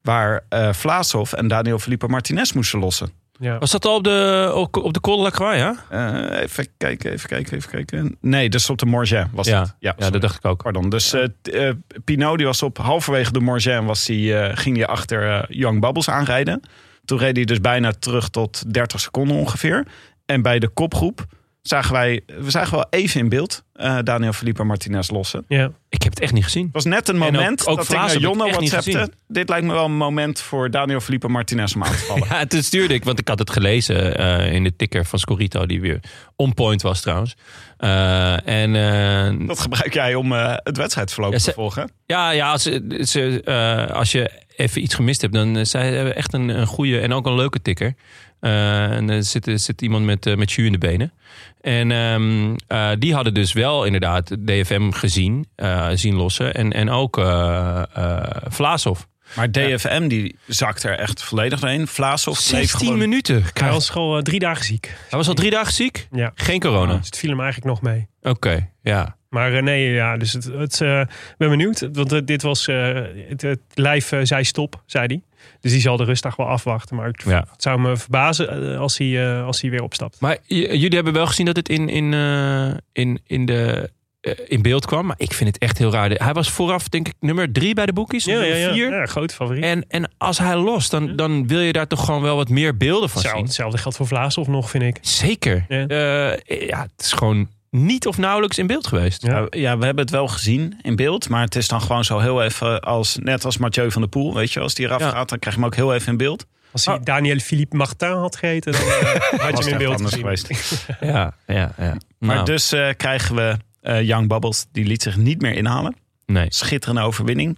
B: Waar eh Vlaashoff en Daniel Felipe Martinez moesten lossen.
C: Ja.
A: Was dat al op de, op, op de Col de la Croix, ja?
B: Eh, even kijken, even kijken, even kijken. Nee, dus op de Morget was
A: Ja,
B: het. Ja,
A: Ja,
B: sorry.
A: dat dacht ik ook.
B: Pardon. Dus eh, t- eh, Pinot die was op halverwege de Morget en was die, eh, ging hij achter eh, Young Bubbles aanrijden. Toen reed hij dus bijna terug tot 30 seconden ongeveer. En bij de kopgroep zagen wij, we zagen wel even in beeld eh, Daniel Felipe Martinez lossen.
C: ja.
A: Ik heb het echt niet gezien.
B: Het was net een
A: En ook-
B: moment
A: ook
B: dat ik
A: Vlaas
B: naar
A: heb ik
B: Jonno
A: echt niet
B: WhatsAppte.
A: gezien.
B: Dit lijkt me wel een moment voor Daniel Felipe Martinez om aan te
A: *laughs*
B: vallen.
A: Ja, toen stuurde ik, want ik had het gelezen eh, in de ticker van Scorito, die weer on point was trouwens. Eh, en eh,
B: Dat gebruik jij om eh, het wedstrijdverloop
A: Ja, ze-
B: te volgen.
A: ja, ja als, ze, eh, als je even iets gemist hebt, dan eh, zij hebben echt een, een goede en ook een leuke ticker. Eh, en er zit, er zit iemand met, eh, met jus in de benen. En ehm, eh, die hadden dus wel inderdaad DFM gezien, eh, zien lossen. En, en ook eh eh, Vlaashoff.
B: Maar DFM die zakt er echt volledig doorheen. Vlaashoff bleef
A: 16
B: gewoon
A: minuten.
C: Hij
A: Hij was,
C: was gewoon eh, drie dagen ziek.
A: hij was al drie dagen ziek.
C: Ja.
A: Geen corona.
C: Dus het viel hem eigenlijk nog mee.
A: Oké, ja.
C: Maar eh, nee, ja, dus het, het, eh, ik ben benieuwd. Want eh, dit was, eh, het, het lijf eh, zei stop, zei hij. Dus die zal de rustdag wel afwachten. Maar het,
A: Ja.
C: het zou me verbazen eh, als hij, eh, als hij weer opstapt.
A: Maar j- jullie hebben wel gezien dat het in, in, eh, in, in, de, eh, in beeld kwam. Maar ik vind het echt heel raar. Hij was vooraf, denk ik, nummer drie bij de boekjes.
C: Ja, ja, ja.
A: Vier.
C: ja grote favoriet.
A: En, en als hij lost, dan, dan wil je daar toch gewoon wel wat meer beelden van
C: Zou-
A: zien.
C: hetzelfde geldt voor Vlaashoff nog, vind ik.
A: Zeker.
C: Ja.
A: Eh, ja, het is gewoon niet of nauwelijks in beeld geweest.
C: Ja.
B: Ja. ja, we hebben het wel gezien in beeld. Maar het is dan gewoon zo heel even als... Net als Mathieu van der Poel, weet je. Als die eraf
A: Ja.
B: gaat, dan krijg je hem ook heel even in beeld.
C: Als hij Daniel Philippe Martin had gegeten, dan eh, *laughs* had
B: Was
C: je hem in
B: echt
C: beeld
B: anders
C: gezien.
B: geweest.
A: Ja, ja, ja.
B: Maar
A: Nou,
B: dus eh, krijgen we eh Young Bubbles. Die liet zich niet meer inhalen.
A: nee.
B: Schitterende overwinning.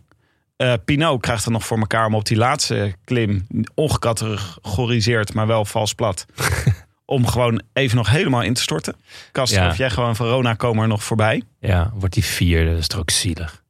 B: Eh Pinot krijgt het nog voor elkaar om op die laatste klim... ongecategoriseerd, maar wel vals
A: *laughs*
B: plat... om gewoon even nog helemaal in te storten. Kastel,
A: Ja.
B: of jij gewoon van Rona komen er nog voorbij.
A: Ja, wordt die vier, dat is toch ook zielig.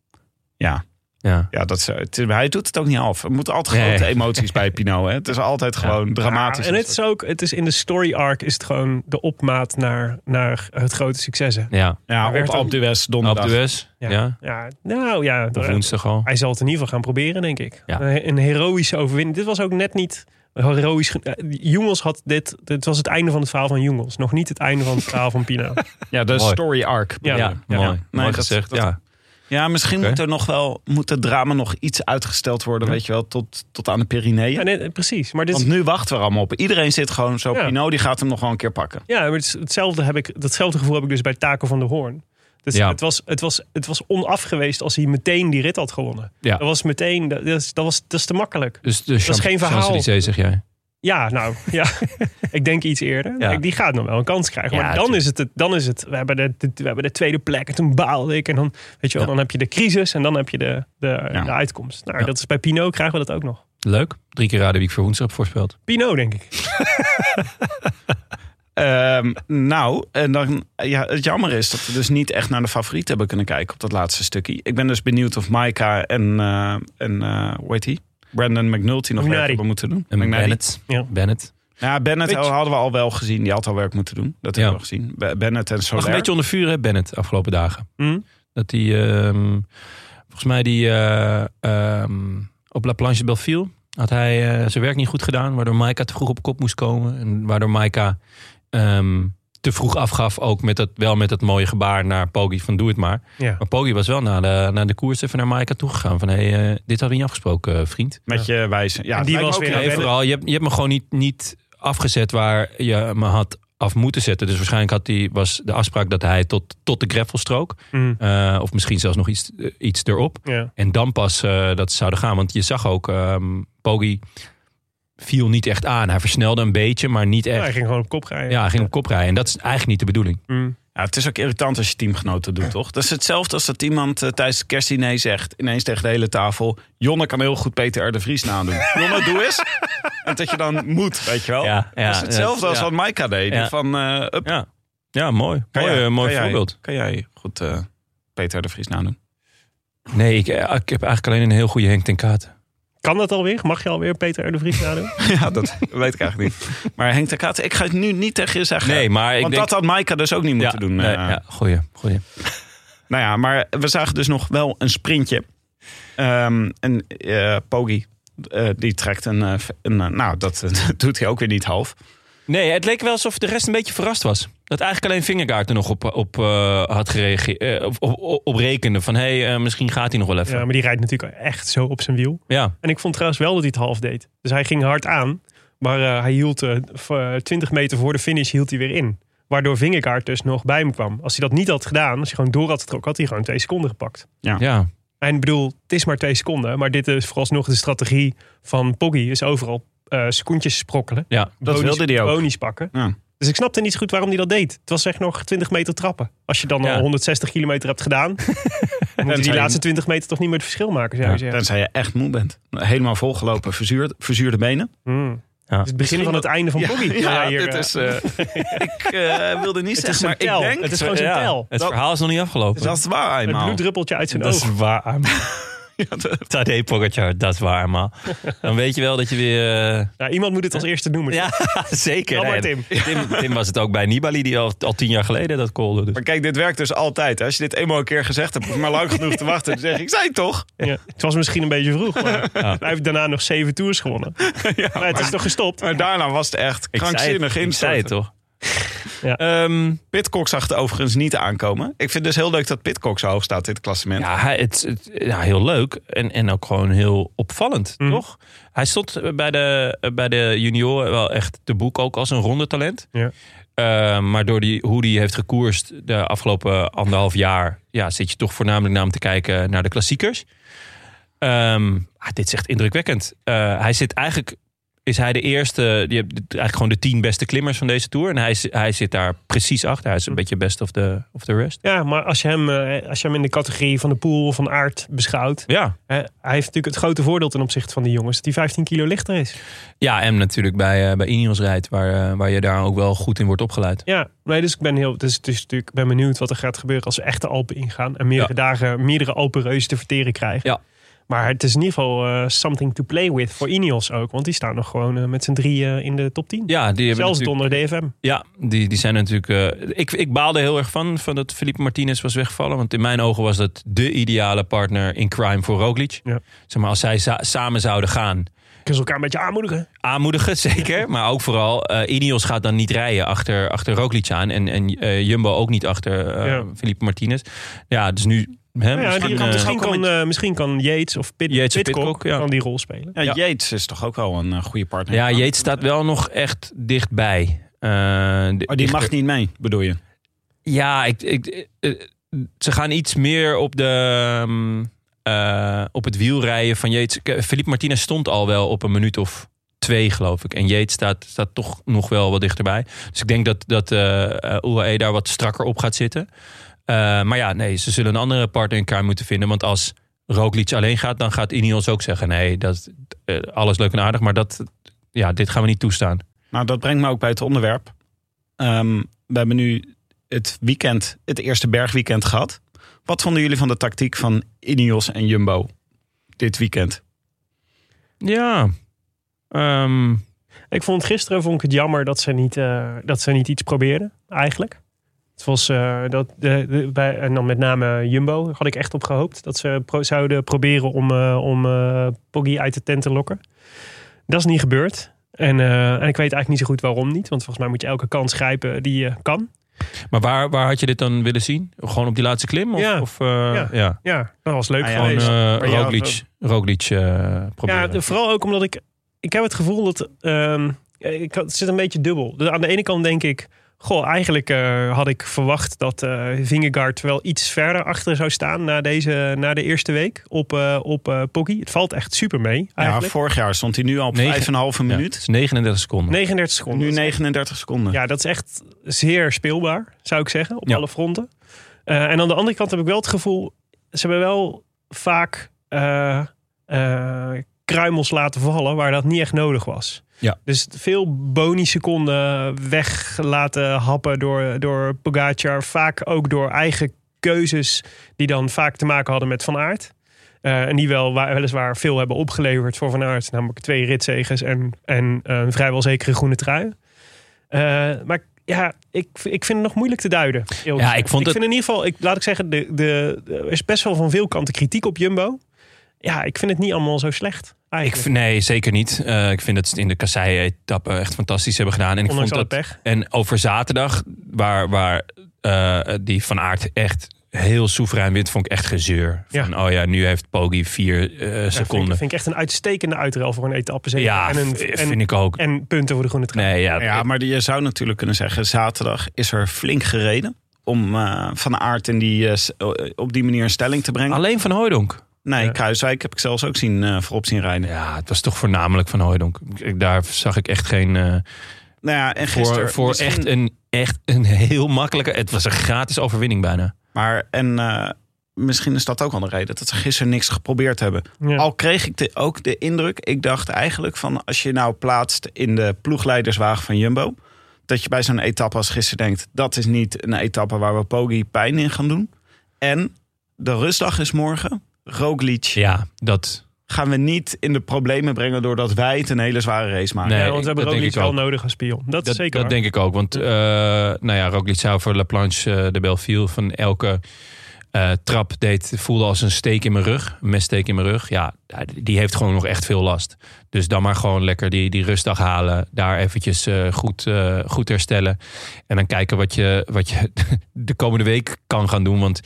B: Ja,
A: Ja.
B: ja dat is, het is- hij doet het ook niet af. Er moeten altijd
A: Nee.
B: grote emoties bij Pinot. Hè. Het is altijd gewoon dramatisch.
C: Ja, en het is ook, het is in de story arc is het gewoon de opmaat naar, naar het grote succes. hè.
A: Ja,
B: Ja,
C: Hij
B: op
C: werd ook-
B: Alpe d'Huez
A: op
B: donderdag.
A: de Wes. Ja.
C: ja. Nou ja,
A: Of woensdag al.
C: hij zal het in ieder geval gaan proberen, denk ik.
A: Ja.
C: Een, een heroïsche overwinning. Dit was ook net niet heroïsch. gen- eh, Jongels had dit, dit was het einde van het verhaal van Jongels. Nog niet het einde van het verhaal van
B: *laughs*
C: Pino.
B: Ja, de
A: Mooi.
B: story arc.
C: Ja.
A: mooi.
B: Nee,
A: mooi
B: dat-
A: gezegd.
B: dat-
A: ja.
B: Ja, misschien
A: Oké.
B: moet er nog wel moet het drama nog iets uitgesteld worden, weet je wel, tot, tot aan de Pyreneeën.
C: Ja, nee, precies. Maar dit is
B: Want nu wachten we er allemaal op. Iedereen zit gewoon zo.
C: Ja.
B: Pinot die gaat hem nog wel een keer pakken.
C: Ja, maar het is hetzelfde heb ik, datzelfde gevoel heb ik dus bij Taco van der Hoorn. Dus
A: Ja.
C: het, was, het, was, het was onaf geweest als hij meteen die rit had gewonnen.
A: Ja.
C: Dat was meteen, dat, dat is, dat, was, dat is te makkelijk.
A: Dus de Champs-
C: geen verhaal.
A: Champs-Élysées, zeg jij.
C: Ja, nou,
A: *laughs*
C: ja. ik denk iets eerder.
A: Ja.
C: Ik- Die gaat nog wel een kans krijgen.
A: Ja,
C: maar dan
A: tuurlijk.
C: is, het, het- dan is het, we hebben, de, de- we hebben de tweede plek en toen baalde ik. En dan, weet je wel, dan heb je de crisis en dan heb je de, de,
B: Ja.
C: de uitkomst. Nou,
A: Ja.
C: dat is bij Pino krijgen we dat ook nog.
A: Leuk. Drie keer raden wie ik voor woensdag heb voorspeld.
C: Pino, denk ik.
B: Ehm, nou, en dan, ja, het jammer is dat we dus niet echt naar de favoriet hebben kunnen kijken op dat laatste stukje. Ik ben dus benieuwd of Maika en, eh en eh, hoe heet die? Brandon McNulty nog
C: McNary.
B: werk hebben moeten doen.
A: En
B: McNary.
A: Bennett.
C: Ja.
A: Bennett.
B: Ja, Bennett
C: Weet je-
B: hadden we al wel gezien. Die had al werk moeten doen. Dat
A: Ja.
B: hebben we al gezien. Be- Bennett en
A: Lag
B: Soler.
A: een beetje onder vuur, hè, Bennett, afgelopen dagen.
C: Hm?
A: Dat die, ehm, volgens mij, die eh, ehm, op La Planche de Belleville had hij eh, zijn werk niet goed gedaan. Waardoor Maika te vroeg op kop moest komen. En waardoor Maika ehm, te vroeg afgaf. Ook met dat, wel met dat mooie gebaar naar Poggi van doe het maar.
C: Ja.
A: Maar Poggi was wel na de, na de koers even naar Maika toegegaan. Van hé, hey, eh, dit hadden we niet afgesproken, eh, vriend.
B: Met je wijze. Ja,
C: En die
B: het lijkt me
C: was
B: ook
C: weer
B: een
C: aan
A: Nee,
C: Bennett-
A: vooral, je hebt, je hebt me gewoon niet, niet afgezet waar je me had af moeten zetten. Dus waarschijnlijk had die, was de afspraak dat hij tot, tot de greffelstrook.
C: Hm.
A: eh, of misschien zelfs nog iets, eh, iets erop.
C: Ja.
A: En dan pas eh, dat ze zouden gaan. Want je zag ook, ehm Poggi viel niet echt aan. Hij versnelde een beetje, maar niet
C: Nou, hij
A: echt.
C: ging gewoon op kop rijden.
A: Ja, hij ging op kop rijden. En dat is eigenlijk niet de bedoeling.
C: Hm.
B: Ja, Ja, het is ook irritant als je teamgenoten doet, toch? Dat is hetzelfde als dat iemand eh, tijdens het kerstdiner zegt... ineens tegen de hele tafel... Jonne kan heel goed Peter R. de Vries nadoen.
A: *laughs*
B: Jonne, doe eens. En dat je dan moet, weet je wel.
A: Ja, ja,
B: dat is hetzelfde
A: dat-
B: als
A: ja.
B: wat Maika deed. die
A: Ja.
B: Van, eh, up,
A: Ja, ja mooi.
B: kan
A: mooi
B: jij-
A: eh, mooi
B: kan jij-
A: voorbeeld.
B: Kan jij goed eh, Peter R. de Vries
A: *laughs*
B: nadoen?
A: Nee, ik, eh, ik heb eigenlijk alleen een heel goede Henk ten Kaat.
C: Kan dat alweer? Mag je alweer Peter R. de Vries nadoen?
B: Ja, *laughs* dat weet ik eigenlijk
A: *laughs*
B: niet. Maar Henk de Kaat, ik ga het nu niet tegen je zeggen.
A: Nee, maar ik
B: Want
A: denk...
B: dat had Maika dus ook niet moeten
A: ja,
B: doen.
A: nee,
B: eh.
A: ja, goeie, goeie.
B: Nou ja, maar we zagen dus nog wel een sprintje. Ehm en eh Poggi, eh, die trekt een... eh, een eh, nou, dat, *laughs* dat doet hij ook weer niet half.
A: Nee, het leek wel alsof de rest een beetje verrast was. Dat eigenlijk alleen Vingergaard er nog op, op eh, had gereageerd. op, op, op rekende van, hé, hey, eh, misschien gaat hij nog wel even.
C: ja,
A: Ja.
C: maar die rijdt natuurlijk echt zo op zijn wiel. En ik vond trouwens wel dat hij het half deed. Dus hij ging hard aan. Maar eh, hij hield eh, v- eh, 20 meter voor de finish hield hij weer in. Waardoor Vingegaard dus nog bij hem kwam. Als hij dat niet had gedaan, als hij gewoon door had getrokken, had hij gewoon twee seconden gepakt.
A: ja.
C: En ik bedoel, het is maar twee seconden. Maar dit is vooralsnog de strategie van Poggi. Is overal eh secondjes sprokkelen.
A: Ja,
B: Dat
C: bonies-
B: wilde hij ook.
C: Bonies pakken.
B: Ja.
C: Dus ik snapte niet zo goed waarom hij dat deed. Het was echt nog 20 meter trappen. Als je dan
A: Ja.
C: al 160 kilometer hebt
B: *laughs*
C: gedaan... dan moeten die
B: zijn-
C: laatste 20 meter toch niet meer het verschil maken, zou je
A: Ja.
C: zeggen.
B: Tenzij je echt moe bent. Helemaal volgelopen, verzuurd, verzuurde benen.
C: Hmm.
A: Ja.
C: Het is het begin van het einde van Poggi.
B: ja, dit is... *laughs* eh, ik eh, wilde niet
C: het
B: zeggen,
C: is zijn
B: maar
C: tel.
B: ik denk...
C: Het is gewoon zijn tel.
A: Het
B: Dat-
A: verhaal is nog niet afgelopen.
B: dat is waar
C: Het
B: eenmaal.
C: bloeddruppeltje uit zijn oog.
A: waar, man. *laughs* Tadej Pogacar, dat is waar, man. Dan weet je wel dat je weer... eh,
C: Nou, iemand moet het als eerste noemen.
A: Ja, *laughs* zeker.
C: Wel maar,
A: Nee, Tim. Tim was het ook bij Nibali, die al, al tien jaar geleden dat kolde. Dus.
B: Maar kijk, dit werkt dus altijd. Als je dit eenmaal een keer gezegd hebt, hoef je maar lang genoeg te wachten. Dan zeg je, ik zei het toch?
C: Ja. Het was misschien een beetje vroeg, maar hij heeft daarna nog zeven tours gewonnen.
B: *laughs* Ja,
C: Maar het is toch gestopt?
B: Maar daarna was het echt
A: Ik zei het,
B: krankzinnig
A: Ik zei het
B: instorten.
A: toch?
C: Ja.
A: Ehm,
B: Pitcock zag het overigens niet aankomen. Ik vind het dus heel leuk dat Pitcock zo hoog staat in het klassement.
A: ja, hij- het, het- ja, heel leuk en, en ook gewoon heel opvallend,
C: Mhm.
A: toch? Hij stond bij de, bij de junioren wel echt te boek ook als een rondetalent.
C: Ja.
A: Eh, maar door die, hoe die heeft gekoerst de afgelopen anderhalf jaar... Ja, zit je toch voornamelijk naar hem te kijken naar de klassiekers. Ehm, ah, dit is echt indrukwekkend. Eh, hij zit eigenlijk... Is hij de eerste, die hebt eigenlijk gewoon de tien beste klimmers van deze tour. En hij, is- hij zit daar precies achter. Hij is een beetje best of the, of the rest.
C: Ja, maar als je, hem, eh, als je hem in de categorie van de pool of van aard beschouwt.
A: Ja,
C: hè, hij heeft natuurlijk het grote voordeel ten opzichte van die jongens. Dat hij 15 kilo lichter is.
A: Ja, en natuurlijk bij, eh, bij Ineos rijdt, waar, eh, waar je daar ook wel goed in wordt opgeleid.
C: Ja, nee, dus ik ben, heel, dus, dus natuurlijk, ik ben benieuwd wat er gaat gebeuren als we echt de Alpen ingaan. En meerdere
A: Ja.
C: dagen meerdere Alpenreuzen te verteren krijgen.
A: Ja.
C: Maar het is in ieder geval eh, something to play with voor Ineos ook. Want die staan nog gewoon eh, met z'n drieën in de top 10.
A: Ja, die, hebben
C: Zelfs
A: natuurlijk-
C: donder DFM.
A: ja, die, die zijn natuurlijk. eh, ik, ik baalde heel erg van, van dat Felipe Martinez was weggevallen. Want in mijn ogen was dat de ideale partner in crime voor Roglic.
C: Ja.
A: Zeg maar, als zij za- samen zouden gaan.
C: Kunnen ze elkaar een beetje aanmoedigen?
A: Aanmoedigen, *laughs* zeker. Maar ook vooral, eh Ineos gaat dan niet rijden achter, achter Roglic aan. En, en eh, Jumbo ook niet achter eh
C: Ja.
A: Felipe Martinez. Ja, dus nu... Hè,
C: Ja,
A: misschien,
C: die kan,
A: eh,
C: misschien, kan, eh, misschien kan Yates of Pit,
A: Yates of
C: Pidcock
A: Pidcock, ja.
C: kan die rol spelen.
B: Ja,
A: Ja.
B: Yates is toch ook wel een eh, goede partner.
A: ja, Jeet staat wel nog echt dichtbij. Eh,
B: Maar Oh, die
A: dichter-
B: mag niet mee, bedoel je?
A: Ja, ik, ik, eh, ze gaan iets meer op, de, ehm, eh, op het wiel rijden van Jeets. Felipe Martinez stond al wel op een minuut of twee, geloof ik. En Jeets staat, staat toch nog wel wat dichterbij. Dus ik denk dat, dat eh, eh, UAE daar wat strakker op gaat zitten. Eh, maar ja, nee, ze zullen een andere partner in elkaar moeten vinden. Want als Roglic alleen gaat, dan gaat Ineos ook zeggen... nee, dat, eh, alles leuk en aardig, maar dat, ja, dit gaan we niet toestaan.
B: Nou, dat brengt me ook bij het onderwerp. Ehm, we hebben nu het weekend, het eerste bergweekend gehad. Wat vonden jullie van de tactiek van Ineos en Jumbo dit weekend?
A: Ja, ehm,
C: Ik vond gisteren vond ik het jammer dat ze niet, eh, dat ze niet iets probeerden, eigenlijk. Het was eh, dat, de, de- bij, en dan met name Jumbo, daar had ik echt op gehoopt. Dat ze pro- zouden proberen om, eh, om eh, Poggi uit de tent te lokken. Dat is niet gebeurd. En, eh, en ik weet eigenlijk niet zo goed waarom niet. Want volgens mij moet je elke kans grijpen die je kan.
A: Maar waar, waar had je dit dan willen zien? Gewoon op die laatste klim? Of,
C: Ja.
A: of, eh, ja.
C: Ja, dat was leuk
B: Ah ja,
C: geweest.
A: Gewoon
B: nee,
A: eh
B: ja,
A: Roglic, Roglic eh,
C: Ja,
A: proberen.
C: de- vooral ook omdat ik... Ik heb het gevoel dat... ehm, ik, had- het zit een beetje dubbel. Dus aan de ene kant denk ik... Goh, eigenlijk eh, had ik verwacht dat eh Vingegaard wel iets verder achter zou staan na, deze, na de eerste week op, eh op eh Poggi. Het valt echt super mee
B: Ja,
C: eigenlijk.
B: vorig jaar stond hij nu al op
A: Negen-
B: 5,5
A: Ja,
B: minuut.
A: het is 39 seconden.
C: 39 seconden.
B: Nu 39 seconden.
C: Ja, dat is echt zeer speelbaar, zou ik zeggen, op
A: Ja.
C: alle fronten. Eh, en aan de andere kant heb ik wel het gevoel, ze hebben wel vaak eh, eh, kruimels laten vallen waar dat niet echt nodig was.
A: Ja.
C: Dus veel boni-seconden weg laten happen door, door Pogacar. Vaak ook door eigen keuzes die dan vaak te maken hadden met Van Aert. Eh, en die wel, wa- weliswaar veel hebben opgeleverd voor Van Aert. Namelijk twee ritzegers en, en eh, een vrijwel zekere groene trui. Eh, maar ja, ik, ik vind het nog moeilijk te duiden. eerlijk
A: Ja,
C: gezegd.
A: ik vond het-
C: vind in ieder geval, ik, laat ik zeggen, de, de, er is best wel van veel kanten kritiek op Jumbo. Ja, ik vind het niet allemaal zo slecht.
A: Ik,
C: Eigenlijk.
A: vind- nee, zeker niet. Eh, ik vind dat ze het in de kassei-etappe echt fantastisch hebben gedaan. En ik
C: Ondanks
A: vond
C: alle
A: dat,
C: pech.
A: En over zaterdag, waar, waar eh, die Van Aert echt heel soeverein wint, vond ik echt gezeur. Van, Oh ja, nu heeft Poggi vier eh,
C: Ja, vind, ik-
A: seconden.
C: vind ik echt een uitstekende uitruil voor een etappe. zeker.
A: ja,
C: en, een,
A: v-
C: en,
A: vind ik ook.
C: en punten voor de groene trui.
A: nee, ja,
B: Ja, maar je zou natuurlijk kunnen zeggen, zaterdag is er flink gereden om eh, Van Aert in die, eh, s- eh, op die manier in stelling te brengen.
A: alleen Van Hooydonk.
B: Nee,
C: Ja.
B: Kruiswijk heb ik zelfs ook zien, eh, voorop zien rijden.
A: Ja, het was toch voornamelijk Van Hooydonk. Ik- Daar zag ik echt geen... eh,
B: Nou ja, en
A: voor
B: gisteren...
A: voor
B: misschien-
A: echt, een, echt een heel makkelijke... Het was een gratis overwinning bijna.
B: Maar en eh, misschien is dat ook wel de reden dat ze gisteren niks geprobeerd hebben.
C: Ja.
B: Al kreeg ik de, ook de indruk, ik dacht eigenlijk van als je nou plaatst in de ploegleiderswagen van Jumbo, dat je bij zo'n etappe als gisteren denkt, dat is niet een etappe waar we Poggi pijn in gaan doen. En de rustdag is morgen. Roglic
A: Ja, dat...
B: gaan we niet in de problemen brengen doordat wij het een hele zware race maken.
A: Nee,
C: ja, want we hebben
A: dat denk
C: Roglic
A: ik ook.
C: wel nodig als spion. Dat, is
A: Dat,
C: zeker
A: dat
C: waar.
A: denk ik ook. Want eh nou ja, Roglic zou voor La Planche eh, de Belleville van elke eh, trap deed, voelde als een steek in mijn rug. Een messteek in mijn rug. Ja, die heeft gewoon nog echt veel last. Dus dan maar gewoon lekker die, die rustdag halen. Daar eventjes eh, goed, eh, goed herstellen. En dan kijken wat je, wat je *laughs* de komende week kan gaan doen. Want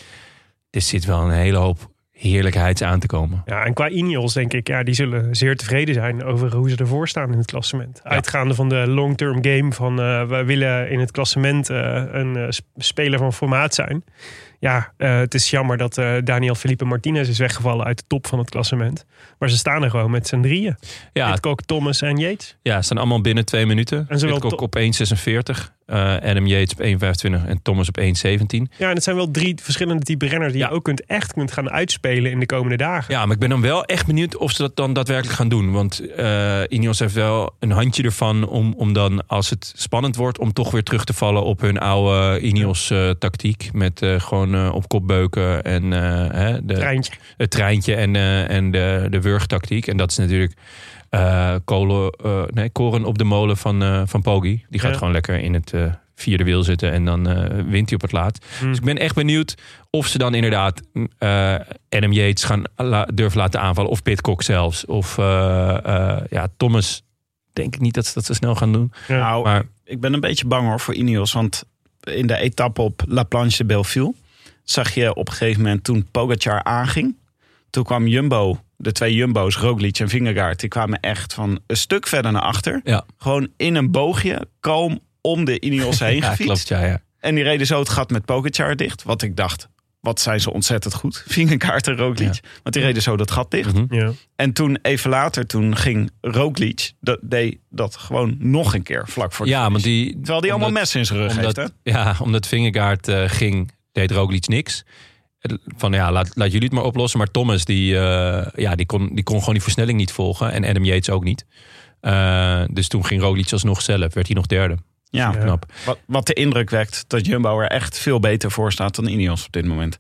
A: er zit wel een hele hoop heerlijkheids aan te komen.
C: Ja, en qua Ineos denk ik, ja, die zullen zeer tevreden zijn over hoe ze ervoor staan in het klassement. Uitgaande van de long-term game van eh we willen in het klassement eh, een eh, sp- speler van formaat zijn. Ja, eh, het is jammer dat eh, Daniel Felipe Martinez is weggevallen uit de top van het klassement. Maar ze staan er gewoon met z'n drieën.
A: Ja,
C: Ja. Thomas en Yates.
A: Ja, ze staan allemaal binnen twee minuten.
C: En zowel
A: Pidcock
C: to-
A: op 1,46. eh, Adam Yates op 1,25. En Thomas op 1,17.
C: Ja, en het zijn wel drie verschillende type renners die
A: Ja.
C: je ook kunt, echt kunt gaan uitspelen in de komende dagen.
A: Ja, maar ik ben dan wel echt benieuwd of ze dat dan daadwerkelijk gaan doen. Want eh Ineos heeft wel een handje ervan om, om dan, als het spannend wordt... om toch weer terug te vallen op hun oude eh, Ineos-tactiek. met eh, gewoon eh, op kop beuken en eh, hè, de,
C: Treintje.
A: het treintje en, eh, en de, de wurgtactiek. En dat is natuurlijk eh, kolen, eh, nee, koren op de molen van, eh van Poggi. Die gaat
C: Ja.
A: gewoon lekker in het eh, vierde wiel zitten en dan eh, wint hij op het laat.
C: Hmm.
A: Dus ik ben echt benieuwd of ze dan inderdaad eh Adam Yates gaan la- durven laten aanvallen. Of Pitcock zelfs. Of eh, eh, ja, Thomas. Denk ik niet dat ze dat zo snel gaan doen.
C: Ja.
B: Nou,
A: Maar
B: ik ben een beetje bang hoor voor Ineos. Want in de etappe op La Planche de Belleville zag je op een gegeven moment toen Pogacar aanging. Toen kwam Jumbo, de twee Jumbo's, Roglic en Vingegaard, die kwamen echt van een stuk verder naar achter.
A: Ja.
B: Gewoon in een boogje, kalm om
A: *laughs*
B: de Ineos heen
A: ja,
B: gefietst.
A: klopt. Ja, ja.
B: En die reden zo het gat met Pogacar dicht. Wat ik dacht, wat zijn ze ontzettend goed. *laughs* Vingegaard en Roglic. Want die reden zo dat gat dicht.
A: Mhm.
C: Ja.
B: En toen even later, toen ging Roglic, dat deed dat gewoon nog een keer vlak voor de
A: ja,
B: finish.
A: want die,
B: Terwijl die allemaal
A: omdat-
B: messen in zijn rug
A: omdat,
B: heeft, hè?
A: Ja, omdat Vingegaard eh, ging, deed Roglic niks. Van ja, laat, laat jullie het maar oplossen. Maar Thomas, die, eh, ja, die, kon, die kon gewoon die versnelling niet volgen. En Adam Yates ook niet. Eh, dus toen ging Roglic alsnog zelf. Werd hij nog derde.
B: Ja,
C: Ja.
A: Knap.
B: Wat, wat de indruk wekt dat Jumbo er echt veel beter voor staat dan Ineos op dit moment.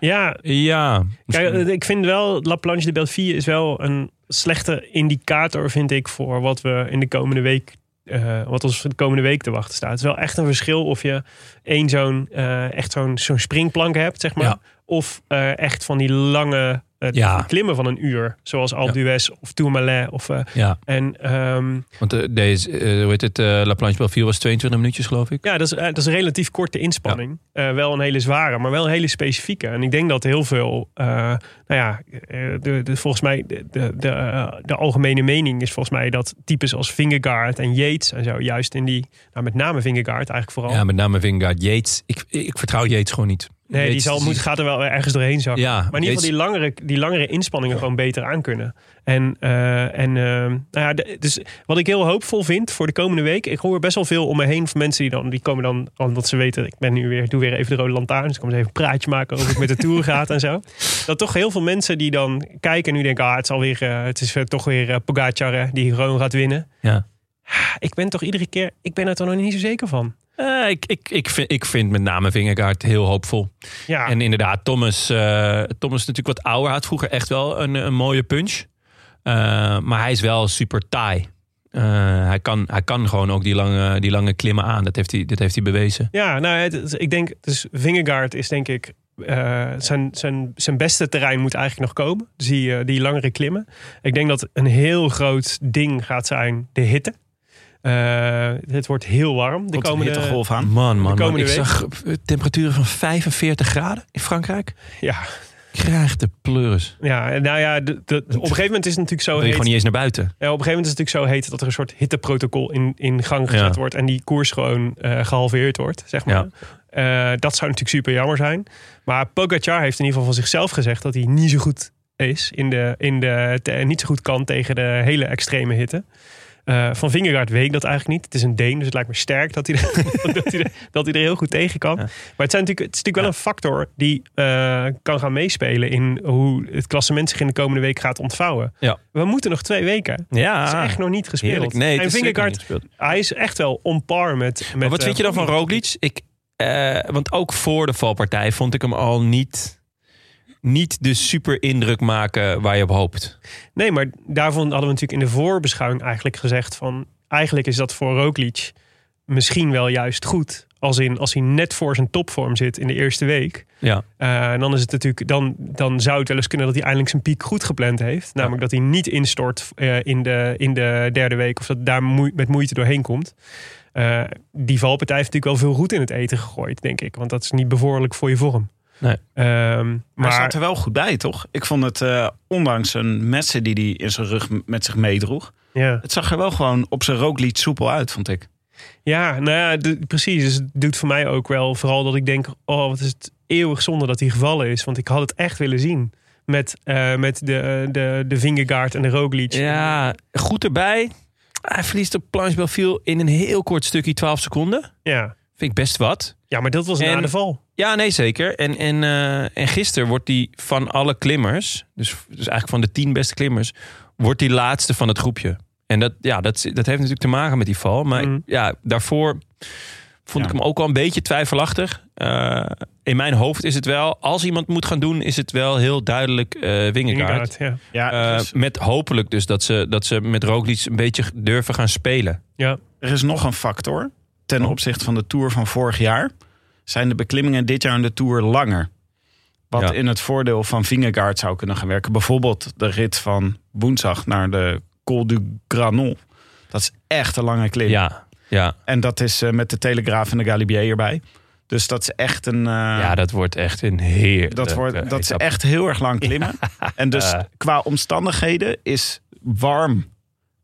C: ja,
A: Ja.
C: Kijk, eh,
A: misschien-
C: ik vind wel, La Planche de Belleville is wel een slechte indicator, vind ik, voor wat we in de komende week, eh, wat ons de komende week te wachten staat. Het is wel echt een verschil of je één zo'n, eh, echt zo'n, zo'n springplank hebt, zeg maar.
A: Ja.
C: Of eh, echt van die lange het
A: Ja.
C: klimmen van een uur. Zoals Alpe d'Huez of Tourmalet. Of, eh,
A: Ja,
C: en ehm,
A: want eh, deze, eh, hoe heet het, eh, La Planche Belfield was 22 minuutjes geloof ik.
C: ja, dat is, eh, dat is een relatief korte inspanning. Eh, wel een hele zware, maar wel een hele specifieke. En ik denk dat heel veel, eh, nou ja, eh, de, de, volgens mij, de, de, de, eh, de algemene mening is volgens mij dat types als Vingegaard en Yates en zo, juist in die, nou met name Vingegaard eigenlijk vooral.
A: Ja, met name Vingegaard, Yates. Ik, ik vertrouw Yates gewoon niet.
C: nee, die
A: Yates-
C: zal, moet, gaat er wel ergens doorheen zakken.
A: Ja,
C: Maar in ieder geval die langere, die langere inspanningen gewoon beter aankunnen. En, eh, en eh, nou ja, de- dus wat ik heel hoopvol vind voor de komende week. Ik hoor best wel veel om me heen van mensen die dan, die komen dan, omdat ze weten, ik ben nu weer, doe weer even de rode lantaarn. Dus ik kom eens even een praatje maken over hoe het met de tour gaat en zo. Dat toch heel veel mensen die dan kijken en nu denken, ah, het, zal weer, eh, het is eh, toch weer eh, Pogacar eh, die gewoon gaat winnen.
A: Ja.
C: Ah, Ik ben toch iedere keer, ik ben er toch nog niet zo zeker van.
A: Eh, ik, ik, ik, vind, ik vind met name Vingegaard heel hoopvol.
C: Ja,
A: En inderdaad, Thomas, eh, Thomas is natuurlijk wat ouder. Had vroeger echt wel een, een mooie punch. Eh, maar hij is wel super taai. Eh, hij, kan, hij kan gewoon ook die lange, die lange klimmen aan. Dat heeft hij, dat heeft hij bewezen.
C: Ja, nou, het- het- ik denk, dus Vingegaard is denk ik, eh, zijn, zijn, zijn beste terrein moet eigenlijk nog komen. Dus die, eh, die langere klimmen. Ik denk dat een heel groot ding gaat zijn de hitte. Eh, het wordt heel warm. De
B: Komt een
C: komende,
B: hittegolf aan.
A: Man, man, man.
C: komende
A: Ik
C: week.
A: zag eh, temperaturen van 45 graden in Frankrijk.
C: ja,
A: Ik Krijg de pleuris.
C: ja, en nou ja, de, de- op een gegeven moment is het natuurlijk zo
A: Dan wil je
C: heet.
A: gewoon niet eens naar buiten.
C: Ja, Eh, op een gegeven moment is het natuurlijk zo heet dat er een soort hitteprotocol in, in gang gezet
A: Ja.
C: wordt. En die koers gewoon eh, gehalveerd wordt, zeg maar.
A: Ja.
C: Eh, dat zou natuurlijk super jammer zijn. Maar Pogacar heeft in ieder geval van zichzelf gezegd dat hij niet zo goed is. In de, in de, te- niet zo goed kan tegen de hele extreme hitte. Eh, van Vingegaard weet ik dat eigenlijk niet. Het is een Deen, dus het lijkt me sterk dat hij er, *laughs* dat hij er, dat hij er heel goed tegen kan.
A: Ja.
C: Maar het, zijn natuurlijk, het is natuurlijk wel een factor die eh, kan gaan meespelen... in hoe het klassement zich in de komende week gaat ontvouwen.
A: Ja.
C: We moeten nog twee weken.
A: Ja,
C: Het is echt nog niet gespeeld.
A: heerlijk. Nee, het
C: en
A: is zeker
C: Vingegaard,
A: niet gespeeld.
C: hij is echt wel on par met... met
A: Maar wat
C: eh,
A: vind je dan van Roglic? Ik, eh, want ook voor de valpartij vond ik hem al niet, niet de super indruk maken waar je op hoopt.
C: Nee, maar daarvan hadden we natuurlijk in de voorbeschouwing eigenlijk gezegd van... Eigenlijk is dat voor Roglic misschien wel juist goed. Als in, als hij net voor zijn topvorm zit in de eerste week.
A: Ja.
C: Eh, en dan, is het natuurlijk, dan, dan zou het wel eens kunnen dat hij eindelijk zijn piek goed gepland heeft. Namelijk dat hij niet instort eh, in, de, in de derde week. Of dat daar moe- met moeite doorheen komt. Eh, die valpartij heeft natuurlijk wel veel roet in het eten gegooid, denk ik. Want dat is niet bevorderlijk voor je vorm.
A: Nee.
C: Ehm,
B: Maar hij
C: maar
B: staat er wel goed bij, toch? Ik vond het, eh, ondanks een messen die hij in zijn rug m- met zich meedroeg...
C: ja.
B: het zag er wel gewoon op zijn rooklied soepel uit, vond ik.
C: Ja, nou ja, de- precies. Dus het doet voor mij ook wel vooral dat ik denk... oh, wat is het eeuwig zonde dat hij gevallen is. Want ik had het echt willen zien met, eh, met de, eh, de, de Vingegaard en de Roglic.
A: ja, goed erbij. Hij verliest op Planche Belfield in een heel kort stukje, 12 seconden.
C: ja.
A: Vind ik best wat.
C: Ja, maar dat was na
A: En-
C: de val.
A: Ja, nee, zeker. En, en, eh, en gisteren wordt die van alle klimmers, dus, dus eigenlijk van de tien beste klimmers, wordt die laatste van het groepje. En dat, ja, dat, dat heeft natuurlijk te maken met die val. Maar
C: Mhm.
A: ik- ja, daarvoor vond
B: Ja.
A: ik hem ook wel een beetje twijfelachtig. Eh, in mijn hoofd is het wel, als iemand moet gaan doen, is het wel heel duidelijk eh Wingegaard.
C: Vingegaard, ja.
B: Ja,
A: Eh,
B: er, is,
A: met hopelijk dus dat ze, dat ze met Roglic een beetje durven gaan spelen.
B: er is nog een factor ten
A: Oh.
B: opzichte van de Tour van vorig jaar. Zijn de beklimmingen dit jaar in de Tour langer? Wat
A: Ja.
B: in het voordeel van Vingegaard zou kunnen gaan werken. Bijvoorbeeld de rit van woensdag naar de Col du Granon. Dat is echt een lange klim.
A: Ja, ja,
B: En dat is eh, met de Telegraaf en de Galibier erbij. Dus dat is echt een... eh,
A: ja, dat wordt echt een eh, heer.
B: Dat, wordt, dat Eh, is echt heel erg lang klimmen. *laughs* En dus qua omstandigheden is warm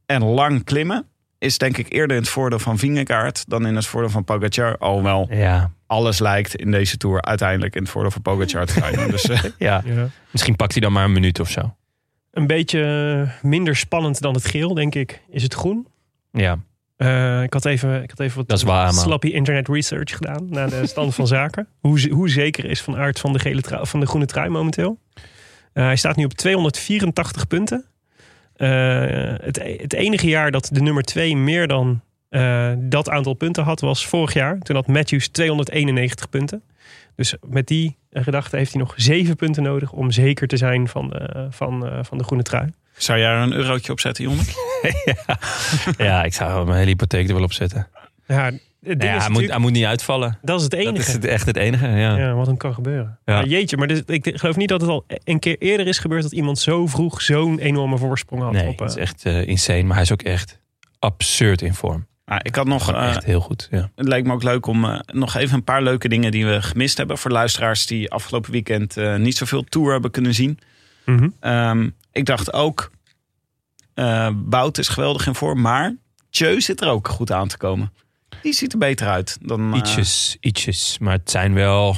B: en lang klimmen... is denk ik eerder in het voordeel van Vingegaard... dan in het voordeel van Pogacar. Alhoewel
A: Ja,
B: alles lijkt in deze Tour uiteindelijk in het voordeel van Pogacar te zijn. *laughs* hoor. Dus eh,
A: ja.
C: ja.
A: Misschien pakt hij dan maar een minuut of zo.
C: Een beetje minder spannend dan het geel, denk ik. Is het groen? *laughs*
A: Ja,
C: Eh, ik, had even, ik had even wat
A: Dat is waar, man.
C: slappie internet research gedaan naar de stand van *laughs* zaken. Hoe, ze- hoe zeker is Van Aert van de, gele trui- van de groene trui momenteel? Eh, hij staat nu op 284 punten. Eh, het, e- het enige jaar dat de nummer 2 meer dan eh, dat aantal punten had, was vorig jaar. Toen had Matthews 291 punten. Dus met die eh, gedachte heeft hij nog 7 punten nodig om zeker te zijn van de, van, eh, van de groene trui.
B: zou jij er een eurotje op zetten, jongen?
A: ja ik zou mijn hele hypotheek er wel op zetten.
C: Ja, het ding
A: Ja,
C: is
A: hij, moet,
C: natuurlijk-
A: hij moet niet uitvallen.
C: dat is het enige.
A: Dat is het, echt het enige, ja.
C: Ja, wat dan kan gebeuren.
A: Ja.
C: Maar jeetje, maar dus, ik geloof niet dat het al een keer eerder is gebeurd... dat iemand zo vroeg zo'n enorme voorsprong had.
A: Nee,
C: op, eh,
A: het is echt eh, insane. Maar hij is ook echt absurd in vorm.
B: Nou, ik had nog,
A: Gewoon
B: eh,
A: echt heel goed, ja.
B: het lijkt me ook leuk om eh, nog even een paar leuke dingen die we gemist hebben. Voor luisteraars die afgelopen weekend eh, niet zoveel tour hebben kunnen zien.
C: mhm.
B: Ehm, ik dacht ook, eh Bout is geweldig in vorm, maar Tjeu zit er ook goed aan te komen. Die ziet er beter uit dan... eh,
A: Ietsjes, ietsjes. Maar het zijn wel...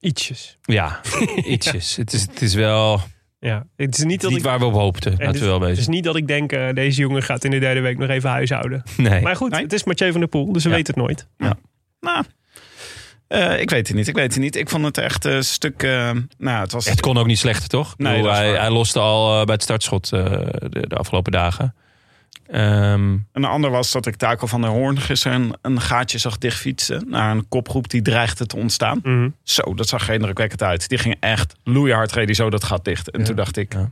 C: Ietsjes. *laughs*
A: Ja, ietsjes. Het, is, het is wel het
C: Ja, het is niet
A: is
C: dat
A: niet
C: ik...
A: waar we op hoopten.
C: het
A: Laten
C: is-
A: we wel
C: Het is
A: wezen.
C: niet dat ik denk, eh, deze jongen gaat in de derde week nog even huishouden.
A: Nee.
C: Maar goed,
B: Nee.
C: het is Mathieu van der Poel, dus we
A: Ja.
C: weten het nooit.
B: nou, eh, ik weet het niet, ik weet het niet. Ik vond het echt een stuk... eh, nou, het was...
A: Het kon ook niet slechter, toch? Ik
B: Nee,
A: bedoel,
B: dat is
A: hij,
B: waar.
A: hij loste al eh, bij het startschot eh, de, de afgelopen dagen. Ehm,
B: Een ander was dat ik Taco van der Hoorn gisteren een, een gaatje zag dichtfietsen... naar een kopgroep die dreigde te ontstaan.
C: Mhm.
B: Zo, dat zag geen indrukwekkend uit. Die ging echt loeihard reden zo dat gat dicht. En toen dacht ik,
A: Ja.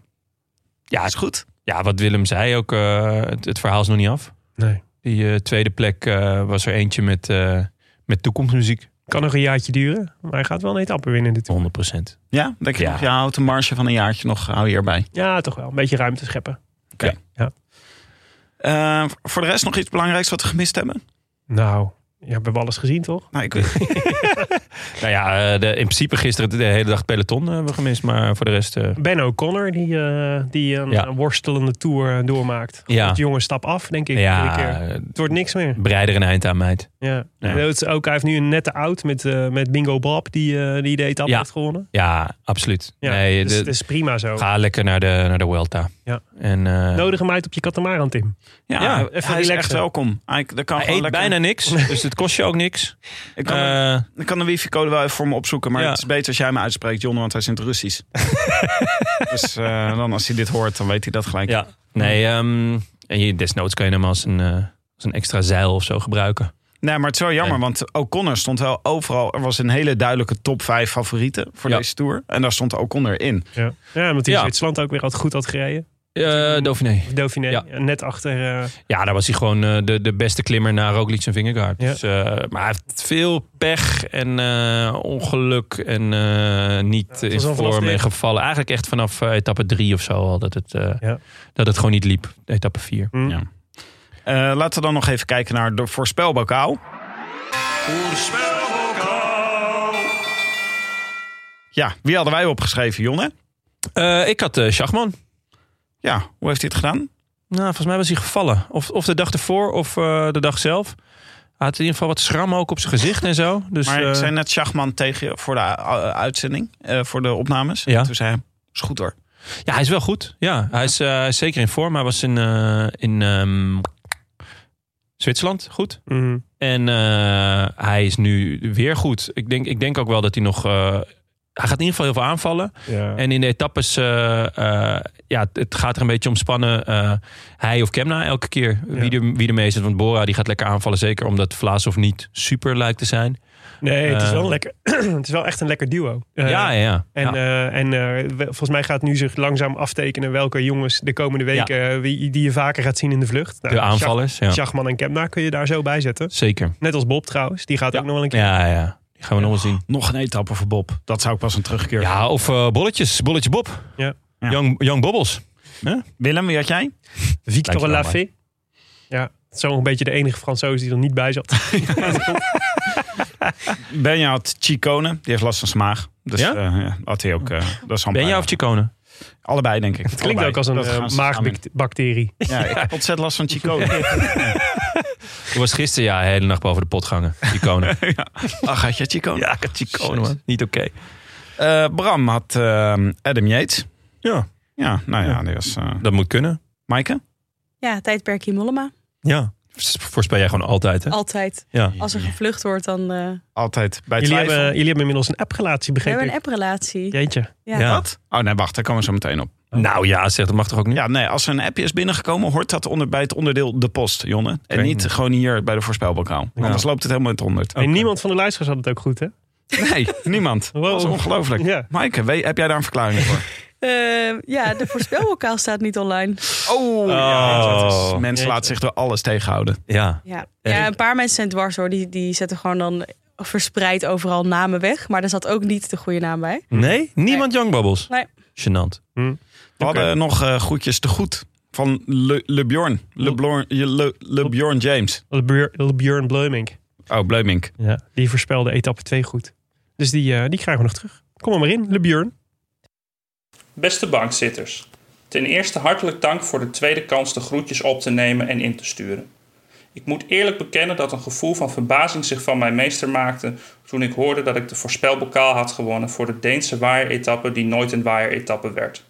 B: ja, is goed.
A: ja, wat Willem zei ook, eh, het, het verhaal is nog niet af.
C: Nee.
A: Die eh, tweede plek eh, was er eentje met, eh, met toekomstmuziek. 100%.
C: Kan nog een jaartje duren, maar hij gaat wel een etappe winnen dit.
B: Ja, denk je
A: Ja.
B: nog, ja, houd de marge van een jaartje nog, hou je erbij.
C: Ja, toch wel. Een beetje ruimte scheppen.
B: Eh, voor de rest nog iets belangrijks wat we gemist hebben?
C: Nou, ja, we hebben alles gezien, toch?
B: Nou, ik,
A: Nou ja, eh, de, in principe gisteren de hele dag het peloton eh, hebben we gemist. Maar voor de rest... eh,
C: Ben O'Connor, die, eh, die een
A: Ja.
C: eh, worstelende tour eh, doormaakt.
A: ja,
C: Het jongen stap af, denk ik. iedere keer.
A: ja
C: Het wordt niks meer.
A: breider een eind aan, meid.
C: Ja.
A: Ja.
C: En Het is ook, hij heeft nu een nette out met, eh, met Bingo Bob, die, eh, die de etappe
A: Ja.
C: heeft gewonnen.
A: Ja, absoluut.
C: Ja,
A: nee,
C: dus
A: de-
C: het is prima zo.
A: Ga lekker naar de, naar de Vuelta.
C: Ja.
A: En, eh,
C: Nodig hem uit op je katamaran, Tim.
A: *laughs*
B: ja,
A: Ja,
B: hij
C: even
B: is
C: relaxen.
B: echt welkom. Hij, dat kan
A: hij eet
B: gewoon lekker-
A: bijna niks, dus het kost je ook niks.
B: Ik kan,
A: Eh,
B: ik kan de wifi-code wel even voor me opzoeken, maar
A: Ja.
B: het is beter als jij me uitspreekt, John, want hij is in het
A: *laughs*
B: Russisch. dus eh, dan als hij dit hoort, dan weet hij dat gelijk.
A: ja. Nee, ehm, en je, desnoods kan je hem als een, eh, als een extra zeil of zo gebruiken.
B: Nee, maar het is wel jammer,
A: En-
B: want O'Connor stond wel overal. Er was een hele duidelijke top 5 favorieten voor
A: Ja.
B: deze tour. En daar stond O'Connor in.
C: Ja, ja omdat hij
A: Ja.
C: Zwitserland ook weer had goed had gereden.
A: Eh Dauphiné.
C: Of Dauphiné,
A: Ja.
C: net achter. eh,
A: Ja, daar was hij gewoon eh, de, de beste klimmer na Roglic en Vingegaard.
C: Ja.
A: Dus, eh, maar hij heeft veel pech en eh, ongeluk en eh, niet
C: het
A: in
C: was al vanaf
A: vorm
C: de-
A: en gevallen. Eigenlijk echt vanaf eh, etappe drie of zo al dat het, eh,
C: Ja.
A: dat het gewoon niet liep. Etappe vier.
C: hm.
B: Ja. Eh, laten we dan nog even kijken naar de voorspelbokaal. Ja, wie hadden wij opgeschreven, Jonne?
A: Eh, ik had eh Schachman.
B: Ja, hoe heeft hij het gedaan?
A: Nou, volgens mij was hij gevallen. Of, of de dag ervoor, of eh, de dag zelf. Hij had in ieder geval wat schram ook op zijn gezicht en zo. Dus,
B: Maar
A: eh,
B: ik zei net Schachman tegen je voor de uh, uitzending, eh, voor de opnames.
A: Ja.
B: En Toen zei hij, is goed hoor.
A: Ja, hij is wel goed. Ja, hij is eh, zeker in vorm. Hij was in, eh, in ehm, Zwitserland goed.
C: Mhm.
A: En eh, hij is nu weer goed. Ik denk, ik denk ook wel dat hij nog... eh, hij gaat in ieder geval heel veel aanvallen.
C: Ja.
A: En in de etappes, eh, eh, ja, het- het gaat er een beetje om spannen. eh, hij of Kemna elke keer. Wie, de, wie de meeste. Want Bora die gaat lekker aanvallen. Zeker omdat Vlaasov niet super lijkt te zijn.
C: Nee, het is,
A: Eh.
C: wel lekker, *clears throat* het is wel echt een lekker duo. Eh,
A: ja, ja, ja.
C: En,
A: Ja.
C: eh, en eh, we- volgens mij gaat nu zich langzaam aftekenen welke jongens de komende weken eh, wie, die je vaker gaat zien in de vlucht. Nou,
A: de
C: Schach-
A: aanvallers, ja.
C: Schachman en Kemna kun je daar zo bij zetten.
A: Zeker.
C: Net als Bob trouwens, die gaat ook nog wel een keer.
A: Ja, ja. Die gaan we nog wel zien.
B: Nog een etappe voor Bob. Dat zou ik pas een terugkeer.
A: Ja, of eh, bolletjes. Bolletje Bob.
C: Ja.
B: Ja.
A: Young, young Bobbles.
B: Willem, wie had jij?
C: Victor
A: Dankjewel,
C: Lafay. Ja, zo'n beetje de enige Fransoos die er niet
A: *laughs*
C: bij zat.
B: Benja had Chicone. Die heeft last van zijn maag. Dus
A: Ja?
B: ja? ja, had hij ook. eh, dat is
A: Ben
B: handbaar.
A: jij of Chicone?
B: Allebei, denk ik. Het
C: Klinkt ook als een eh, maagbacterie.
B: Ja, ik heb ontzettend last van *laughs* Chicone.
A: Ik was gisteren ja, de hele nacht boven de pot gangen. *laughs* Chicone.
B: Ach, had je Chicone?
A: ja, ik had Chicone, man. Niet oké.
B: Eh, Bram had eh, Adam Yates.
A: Ja.
B: Ja, nou ja, die was... eh
A: Dat moet kunnen.
B: Maaike?
D: Ja, tijdperkje Mollema.
A: Ja. Voorspel jij gewoon altijd, hè?
D: Altijd.
A: Ja.
D: Als er gevlucht wordt, dan... eh
B: Altijd bij
C: Jullie
B: twijfel.
C: hebben, jullie hebben inmiddels een apprelatie,
D: we
C: begrepen?
D: hebben een apprelatie.
C: Jeetje.
D: Ja.
A: Ja.
B: Wat? Oh nee, wacht, daar komen we zo meteen op.
A: Nou ja, zeg, dat mag toch ook niet?
B: Ja, nee, als er een appje is binnengekomen, hoort dat onder, bij het onderdeel de post, Jonne. En
A: Oké.
B: niet gewoon hier bij de voorspelbokaal. Anders loopt het helemaal in het honderd.
C: En niemand van de luisteraars had het ook goed, hè?
B: Nee, niemand.
C: Oh. Wow.
B: Dat is ongelooflijk.
C: Ja.
B: Maaike, we- heb jij daar een verklaring voor?
D: Eh, ja, de voorspelbokaal staat niet online.
B: Oh,
A: Oh.
B: Mensen laten zich door alles tegenhouden.
A: Ja.
D: Ja. ja, een paar mensen zijn dwars hoor. Die, die zetten gewoon dan verspreid overal namen weg. Maar daar zat ook niet de goede naam bij.
A: Nee? Niemand Young Bubbles?
D: Nee.
A: Gênant.
B: We hadden nog eh, groetjes te goed. Van Le, LeBjorn. LeBlorn- je- Le, LeBjorn James.
C: Björn Bleumink.
B: Oh, Bleumink.
C: Ja, die voorspelde etappe 2 goed. Dus die, eh, die krijgen we nog terug. Kom er maar in, Le Björn.
F: Beste bankzitters, ten eerste hartelijk dank voor de tweede kans de groetjes op te nemen en in te sturen. Ik moet eerlijk bekennen dat een gevoel van verbazing zich van mij meester maakte toen ik hoorde dat ik de voorspelbokaal had gewonnen voor de Deense waaieretappe die nooit een waaieretappe werd.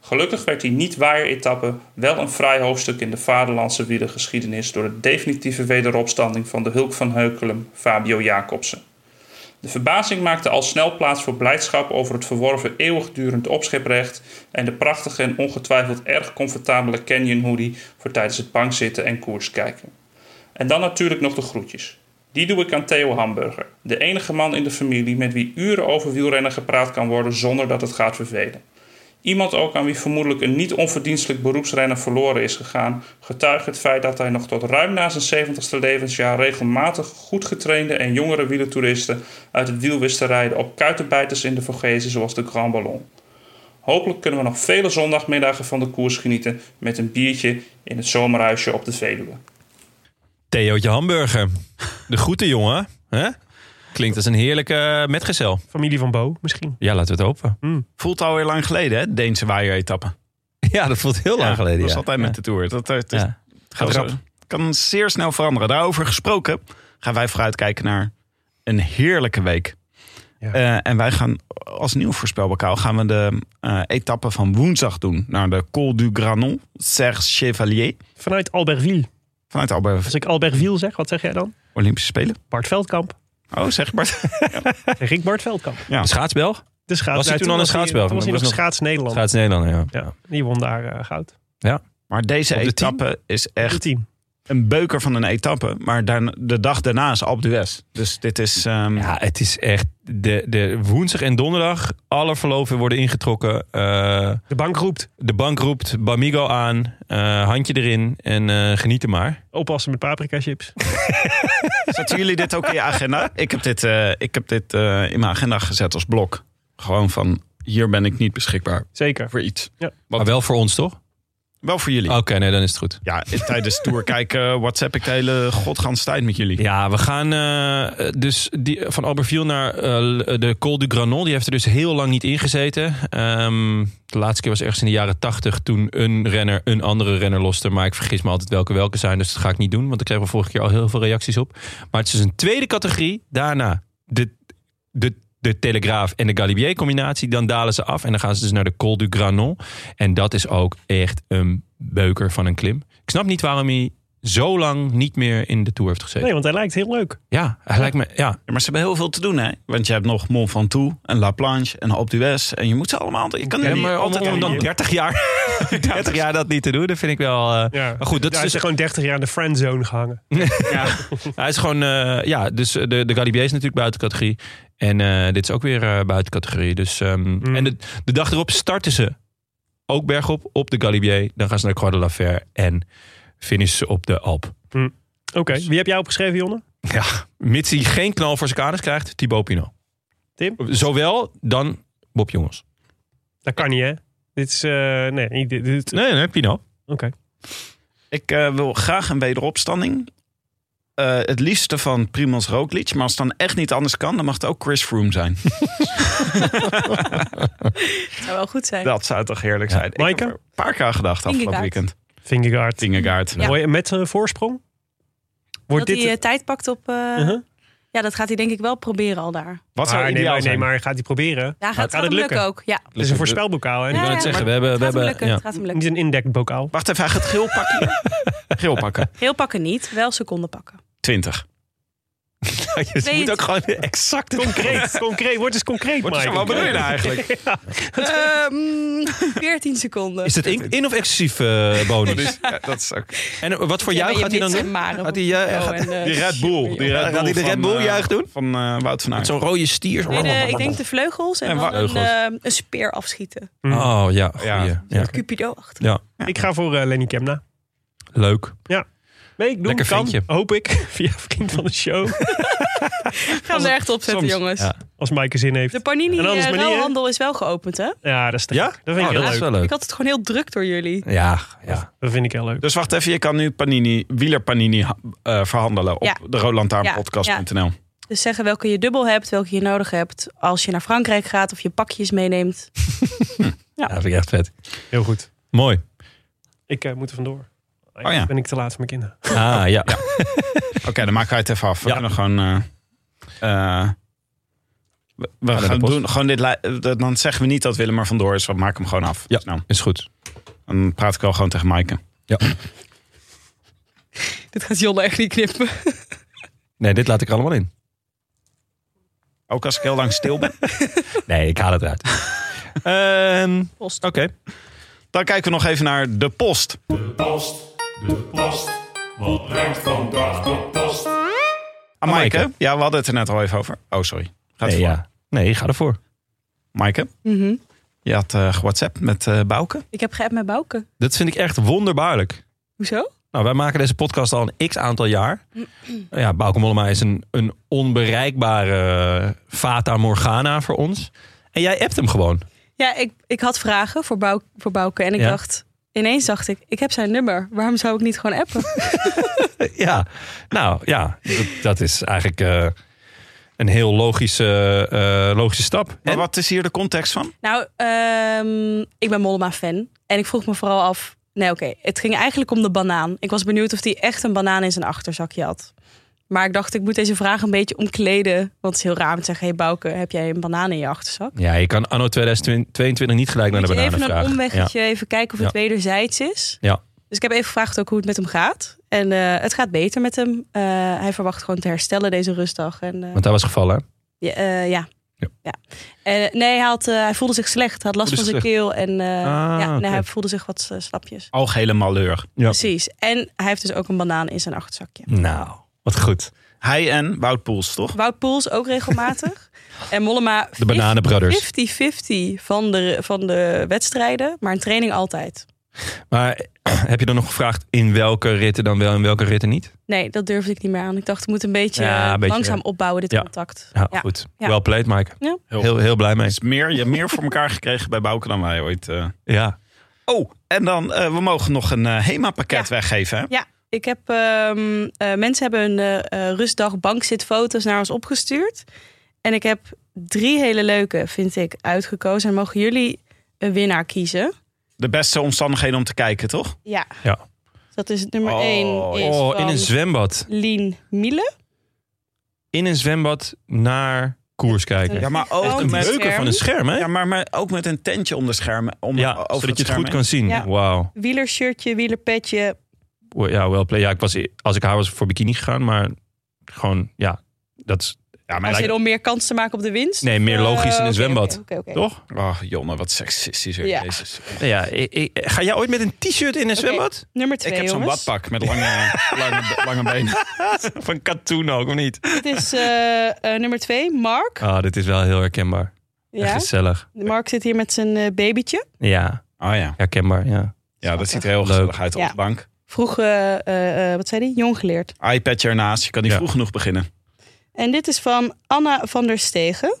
F: Gelukkig werd die niet-waaieretappe wel een vrij hoofdstuk in de vaderlandse wielergeschiedenis door de definitieve wederopstanding van de Hulk van Heukelum, Fabio Jacobsen. De verbazing maakte al snel plaats voor blijdschap over het verworven eeuwigdurend opscheprecht en de prachtige en ongetwijfeld erg comfortabele canyon hoodie voor tijdens het bankzitten en koers kijken. En dan natuurlijk nog de groetjes. Die doe ik aan Theo Hamburger, de enige man in de familie met wie uren over wielrennen gepraat kan worden zonder dat het gaat vervelen. Iemand ook aan wie vermoedelijk een niet onverdienstelijk beroepsrenner verloren is gegaan, getuigt het feit dat hij nog tot ruim na zijn 70ste levensjaar regelmatig goed getrainde en jongere wielertoeristen uit het wiel wist te rijden op kuitenbijters in de Vogezen zoals de Grand Ballon. Hopelijk kunnen we nog vele zondagmiddagen van de koers genieten met een biertje in het zomerhuisje op de Veluwe.
A: Theootje Hamburger. De groeten, jongen. hè? Klinkt als een heerlijke metgezel.
C: Familie van Bo, misschien.
A: Ja, laten we het hopen.
B: Voelt alweer lang geleden, hè? Deense waaieretappe.
A: Ja, dat voelt heel lang geleden.
B: Dat is
A: ja.
B: altijd met de Tour. Dat, eh, dat, dat-
A: Ja.
B: gaat
A: rap.
B: zo- kan zeer snel veranderen. Daarover gesproken gaan wij vooruitkijken naar een heerlijke week.
C: Ja.
B: Eh, en wij gaan als nieuw voorspelbokaal gaan we de eh etappe van woensdag doen. Naar de Col du Granon, Serge Chevalier.
C: Vanuit Albertville.
B: Vanuit Albert
C: Als ik Albertville zeg, wat zeg jij dan?
B: Olympische Spelen.
C: Bart
A: *laughs*
C: Veldkamp.
B: Oh, zeg Bart.
C: Zeg ik Bart Veldkamp.
B: Ja.
A: Schaatsbelg?
C: De schaats,
A: Was hij toen al een
C: was hij-
A: schaatsbel?
C: Toen was hij
A: Was
C: nog
A: nog-
C: schaats Nederland.
A: Schaats Nederland, ja.
C: Ja, die won daar eh, goud.
B: *laughs* Maar deze
A: Op de tien?
B: etappe is
C: Het
B: echt
C: team.
B: een beuker van een etappe. Maar daarna- de dag daarna is Alpe d'Huez. Dus dit is... ehm,
A: Ja, het is echt de, de woensdag en donderdag. Alle verloven worden ingetrokken. Eh,
C: De bank roept,
A: de bank roept Bamigo aan. eh, handje erin en eh genieten maar.
C: oppassen met paprika chips.
B: Zetten jullie dit ook in je agenda? Ik heb dit, eh, ik heb dit eh, in mijn agenda gezet als blok. Gewoon van, hier ben ik niet beschikbaar
C: Zeker.
B: voor iets.
A: Maar wel voor ons, toch?
B: Wel voor jullie.
A: Oké, nee, dan is het goed.
B: Ja, in- tijdens tour kijken, eh, WhatsApp ik de hele godgans tijd met jullie.
A: Ja, we gaan eh, dus die, van Albertville naar eh, de Col du Granon. Die heeft er dus heel lang niet ingezeten. Ehm de laatste keer was ergens in de jaren tachtig toen een renner een andere renner loste. Maar ik vergis me altijd welke welke zijn, dus dat ga ik niet doen. Want ik kreeg er vorige keer al heel veel reacties op. Maar het is dus een tweede categorie. Daarna de, de, de Telegraaf en de Galibier combinatie. Dan dalen ze af en dan gaan ze dus naar de Col du Granon. En dat is ook echt een beuker van een klim. Ik snap niet waarom hij zo lang niet meer in de Tour heeft gezeten.
C: Nee, want hij lijkt heel leuk.
A: Ja, hij lijkt me. Ja,
B: Ja, maar ze hebben heel veel te doen, hè? Want je hebt nog Mont Ventoux en La Planche en Alpe d'Huez. En je moet ze allemaal... Je kan
A: Ja,
B: niet
A: maar eh, om,
B: altijd
A: om
B: aan
A: dan
B: je-
A: 30 jaar, 30 jaar dat niet te doen, dat vind ik wel. eh,
C: Ja.
A: Maar goed, dat is
C: hij is
A: dus-
C: gewoon 30 jaar in de friendzone gehangen.
A: Hij is gewoon. eh, ja, dus eh, de, de Galibier is natuurlijk buiten categorie. En eh, dit is ook weer eh, buiten categorie. Dus, ehm, En de, de dag erop starten ze ook bergop op de Galibier. Dan gaan ze naar Croix de la Fer en finishen ze op de Alp.
C: Oké,
A: Dus-
C: wie heb jij opgeschreven, Jonne?
A: Ja, mits hij geen knal voor zijn kaders krijgt, Thibaut Pinot.
C: Tim?
A: Zowel dan Bob Jongens.
C: Dat kan niet, hè? Dit is... eh, nee, niet dit, dit-
A: Nee, nee, Pinot.
C: Oké.
B: Ik eh, wil graag een wederopstanding. Eh, het liefste van Primoz Roglic. Maar als het dan echt niet anders kan, dan mag het ook Chris Froome zijn.
D: Het zou wel goed zijn.
B: Dat zou toch heerlijk zijn. Ik
C: Maaike?
B: heb er een paar keer aan gedacht afgelopen
D: Vingegaard.
B: weekend.
C: Vingegaard.
B: Tingegaard.
C: Mooi, met een voorsprong? Wordt
D: dat
C: dit...
D: hij eh, tijd pakt op... eh,
C: Uh-huh.
D: Ja, dat gaat hij denk ik wel proberen al daar.
B: Wat
A: Ah,
C: Maar
B: zou
C: nee,
B: ideaal
C: maar, nee,
B: zijn?
C: maar gaat hij proberen?
D: Ja, gaat,
C: Nou, Gaat
D: gaat
C: het
D: hem lukken
C: lukken?
D: ook. Ja,
C: Het is een voorspelbokaal, hè?
D: Ja,
A: Ik wil
D: ja,
A: het zeggen, we
D: maar
A: hebben.
D: het
A: We
D: gaat hem
A: hebben
D: lukken.
A: ja.
D: het gaat hem lukken.
C: *laughs* Niet een indekbokaal.
B: Wacht even, hij gaat *laughs* geel pakken. geel pakken.
D: Heel pakken niet, wel seconden pakken.
B: 20.
A: je moet ook gewoon exact het
C: Concreet, *laughs* concreet. Word eens concreet,
B: Wordt er
C: Mike.
B: zo- wat bedoel je nou *laughs* eigenlijk?
D: Ehm, *laughs* 14 seconden.
A: Is dat in, in of exclusief *laughs* eh, bonus?
B: Dus, ja, dat is ook.
A: En eh, wat voor
D: Ja,
A: jou
D: maar
A: gaat
D: je
A: hij dan
D: mits
A: doen?
D: en maren
A: Gaat hij, eh,
D: moet
A: gaat-
D: je zo en, eh,
B: Die Red Bull. Die Red
A: Gaat
B: Bull
A: hij de
B: van,
A: Red Bull
B: eh,
A: juich doen?
B: Van eh, Wout van Aert.
A: Zo'n rode stier. Oh,
D: Nee, de- ik denk de vleugels en
B: En
D: dan een,
A: vleugels.
D: eh, een speer afschieten.
A: Oh ja, goeie.
B: Ja.
A: Ja.
D: Cupido achter.
A: Ja,
C: Ik ga voor eh, Lenny Kemna.
A: leuk.
C: Nee, ik doe
A: Lekker
C: hem, kan,
A: ventje.
C: hoop ik. *laughs* Via vriend van de
A: *laughs*
C: show.
D: Ik ga hem er echt op zetten,
B: soms.
D: jongens.
A: Ja.
C: Als Mike er zin heeft.
D: De panini
C: En anders
D: eh,
C: manier-
D: ruilhandel is wel geopend, hè?
C: Ja, dat is te
A: Ja?
C: gek. Dat vind
A: oh,
C: ik heel
A: dat
C: leuk.
A: is wel leuk.
D: Ik had het gewoon heel druk door jullie.
A: Ja, ja.
C: Dat vind ik heel leuk.
B: Dus wacht even, je kan nu Panini, wielerpanini ha- eh, verhandelen op
D: Ja.
B: de roodlantaarnpodcast.nl.
D: Dus zeggen welke je dubbel hebt, welke je nodig hebt. Als je naar Frankrijk gaat of je pakjes meeneemt. *laughs*
A: Ja, dat vind ik echt vet.
C: Heel goed.
A: Mooi.
C: Ik eh, moet er vandoor.
B: Oh ja.
C: Ben ik te laat voor mijn kinderen.
A: Ah, ja.
B: Oké, dan maken wij het even af. We
A: Ja.
B: kunnen gewoon... eh, eh, we we
A: naar de
B: gaan
A: post.
B: doen, gewoon dit, li- eh, dan zeggen we niet dat Willem er vandoor is. We maken hem gewoon af.
A: Ja.
B: Snel.
A: Is goed.
B: Dan praat ik wel gewoon tegen Maaike.
D: Dit gaat Jonne echt niet knippen.
A: Nee, dit laat ik er allemaal in.
B: Ook als ik heel lang stil ben.
A: Nee, ik haal het eruit. *laughs* Ehm,
D: Post.
A: Oké.
B: Dan kijken we nog even naar de post.
G: Post, de post. Wat brengt vandaag de post?
B: Ah, Maaike? Ja, we hadden het er net al even over. Oh, sorry. Gaat
A: Nee,
B: voor.
A: ja. nee, ga ervoor.
B: Maaike,
D: Mhm.
B: je had eh WhatsApp met eh Bouke.
D: Ik heb geappt met Bouke.
A: Dat vind ik echt wonderbaarlijk.
D: Hoezo?
A: Nou, wij maken deze podcast al een x aantal jaar. Ja, Bauke Mollema is een, een onbereikbare eh, Fata Morgana voor ons. En jij appt hem gewoon. *laughs*
D: Ja, ik, ik had vragen voor, Bouke, voor Bouke. En ik
A: Ja.
D: dacht, ineens dacht ik, ik heb zijn nummer. Waarom zou ik niet gewoon appen?
A: Ja, nou ja, dat, dat is eigenlijk eh, een heel logische, eh, logische stap.
B: Maar
A: En-
B: wat is hier de context van?
D: Nou, ehm, ik ben Mollema-fan. En ik vroeg me vooral af... Nee, oké. het ging eigenlijk om de banaan. Ik was benieuwd of hij echt een banaan in zijn achterzakje had. Maar ik dacht, ik moet deze vraag een beetje omkleden. Want het is heel raar om te zeggen... Hé hey Bouke, heb jij een banaan in je achterzak?
A: Ja, je kan anno 2022 niet gelijk naar de
D: Moet je
A: bananen
D: even een
A: vragen.
D: omweggetje, even kijken of het
A: Ja.
D: wederzijds is.
A: Ja.
D: Dus ik heb even gevraagd ook hoe het met hem gaat. En eh, het gaat beter met hem. Eh, hij verwacht gewoon te herstellen deze rustdag. En, eh,
A: Want hij was gevallen. hè?
D: ja, eh, ja.
A: Ja.
D: Ja. En, nee, hij, had, eh, hij voelde zich slecht. Hij had last van
A: Voelde
D: zijn
A: zich Ah,
D: keel. En eh, ja, nee,
A: oké.
D: hij voelde zich wat eh, slapjes.
B: Algehele malheur.
A: Ja.
D: Precies. En hij heeft dus ook een banaan in zijn achterzakje.
A: Nou, wat goed.
B: Hij en Wout Poels, toch?
D: Wout Poels ook
A: *laughs*
D: regelmatig. en Mollema
A: De bananenbrothers.
D: 50-50 van de, van de wedstrijden. Maar een training altijd.
A: Maar *clears throat* heb je dan nog gevraagd in welke ritten dan wel en welke ritten niet?
D: Nee, dat durfde ik niet meer aan. Ik dacht, ik moet een beetje,
A: Ja, een
D: eh,
A: beetje,
D: langzaam
A: eh,
D: opbouwen, dit
A: ja.
D: contact.
A: Ja, goed.
D: Ja.
A: Wel played, Mike.
D: Ja.
B: Heel
A: Heel, heel blij mee.
B: Dus meer, je hebt meer voor elkaar gekregen bij Bouke dan wij ooit. eh.
A: Ja.
B: Oh, en dan, eh, we mogen nog een eh, HEMA-pakket
D: Ja.
B: weggeven. Hè?
D: Ja, ik heb, ehm, eh, mensen hebben hun eh, eh, rustdag bankzitfoto's naar ons opgestuurd. En ik heb drie hele leuke, vind ik, uitgekozen. En mogen jullie een winnaar kiezen?
B: De beste omstandigheden om te kijken, toch?
D: Ja.
A: Ja.
D: Dat is het nummer
B: Oh,
D: één. Is
A: Oh, in
D: van
A: een zwembad.
D: Lien Miele.
A: In een zwembad naar koers kijken.
B: Ja, maar ook
D: Gewoon
B: met-
D: een
A: Leuker van een
D: scherm.
A: scherm, hè?
B: Ja, maar, maar ook met een tentje om de schermen. Om,
A: Ja,
B: over
A: zodat je het
B: scherm
A: goed
B: heen.
A: kan zien.
D: Ja.
A: Wauw.
D: Wielershirtje, wielerpetje.
A: Ja, wel play. Ja, ik was, als ik haar was voor bikini gegaan, maar gewoon, ja, dat is
B: Ja, maar
D: Als je
B: lijkt-
D: om meer kans te maken op de winst.
A: nee, meer
D: Eh,
A: logisch in
D: oké,
A: een zwembad.
D: oké, oké, oké.
A: Toch?
B: Oh, Jonne, wat seksistisch. weer.
D: Ja.
B: Jezus.
A: Nou Ja, ik- ik- ga jij ooit met een t-shirt in een zwembad?
D: Nummer twee,
B: Ik heb zo'n
D: jongens.
B: badpak met lange, lange, lange benen.
A: *laughs* Van katoen ook, of niet?
D: Dit is eh, eh, nummer twee, Mark.
A: Ah, dit is wel heel herkenbaar. Echt
D: Ja.
A: gezellig.
D: Mark zit hier met zijn eh, babytje.
A: Ja,
B: Oh ja.
A: herkenbaar, ja.
B: Ja, dat ziet er heel
A: Leuk.
B: gezellig uit op
D: Ja.
B: de bank.
D: Vroeg, eh, eh, eh, wat zei hij? Jong geleerd.
B: iPadje ernaast, je kan niet
A: Ja.
B: vroeg genoeg beginnen.
D: En dit is van Anna van der Stegen.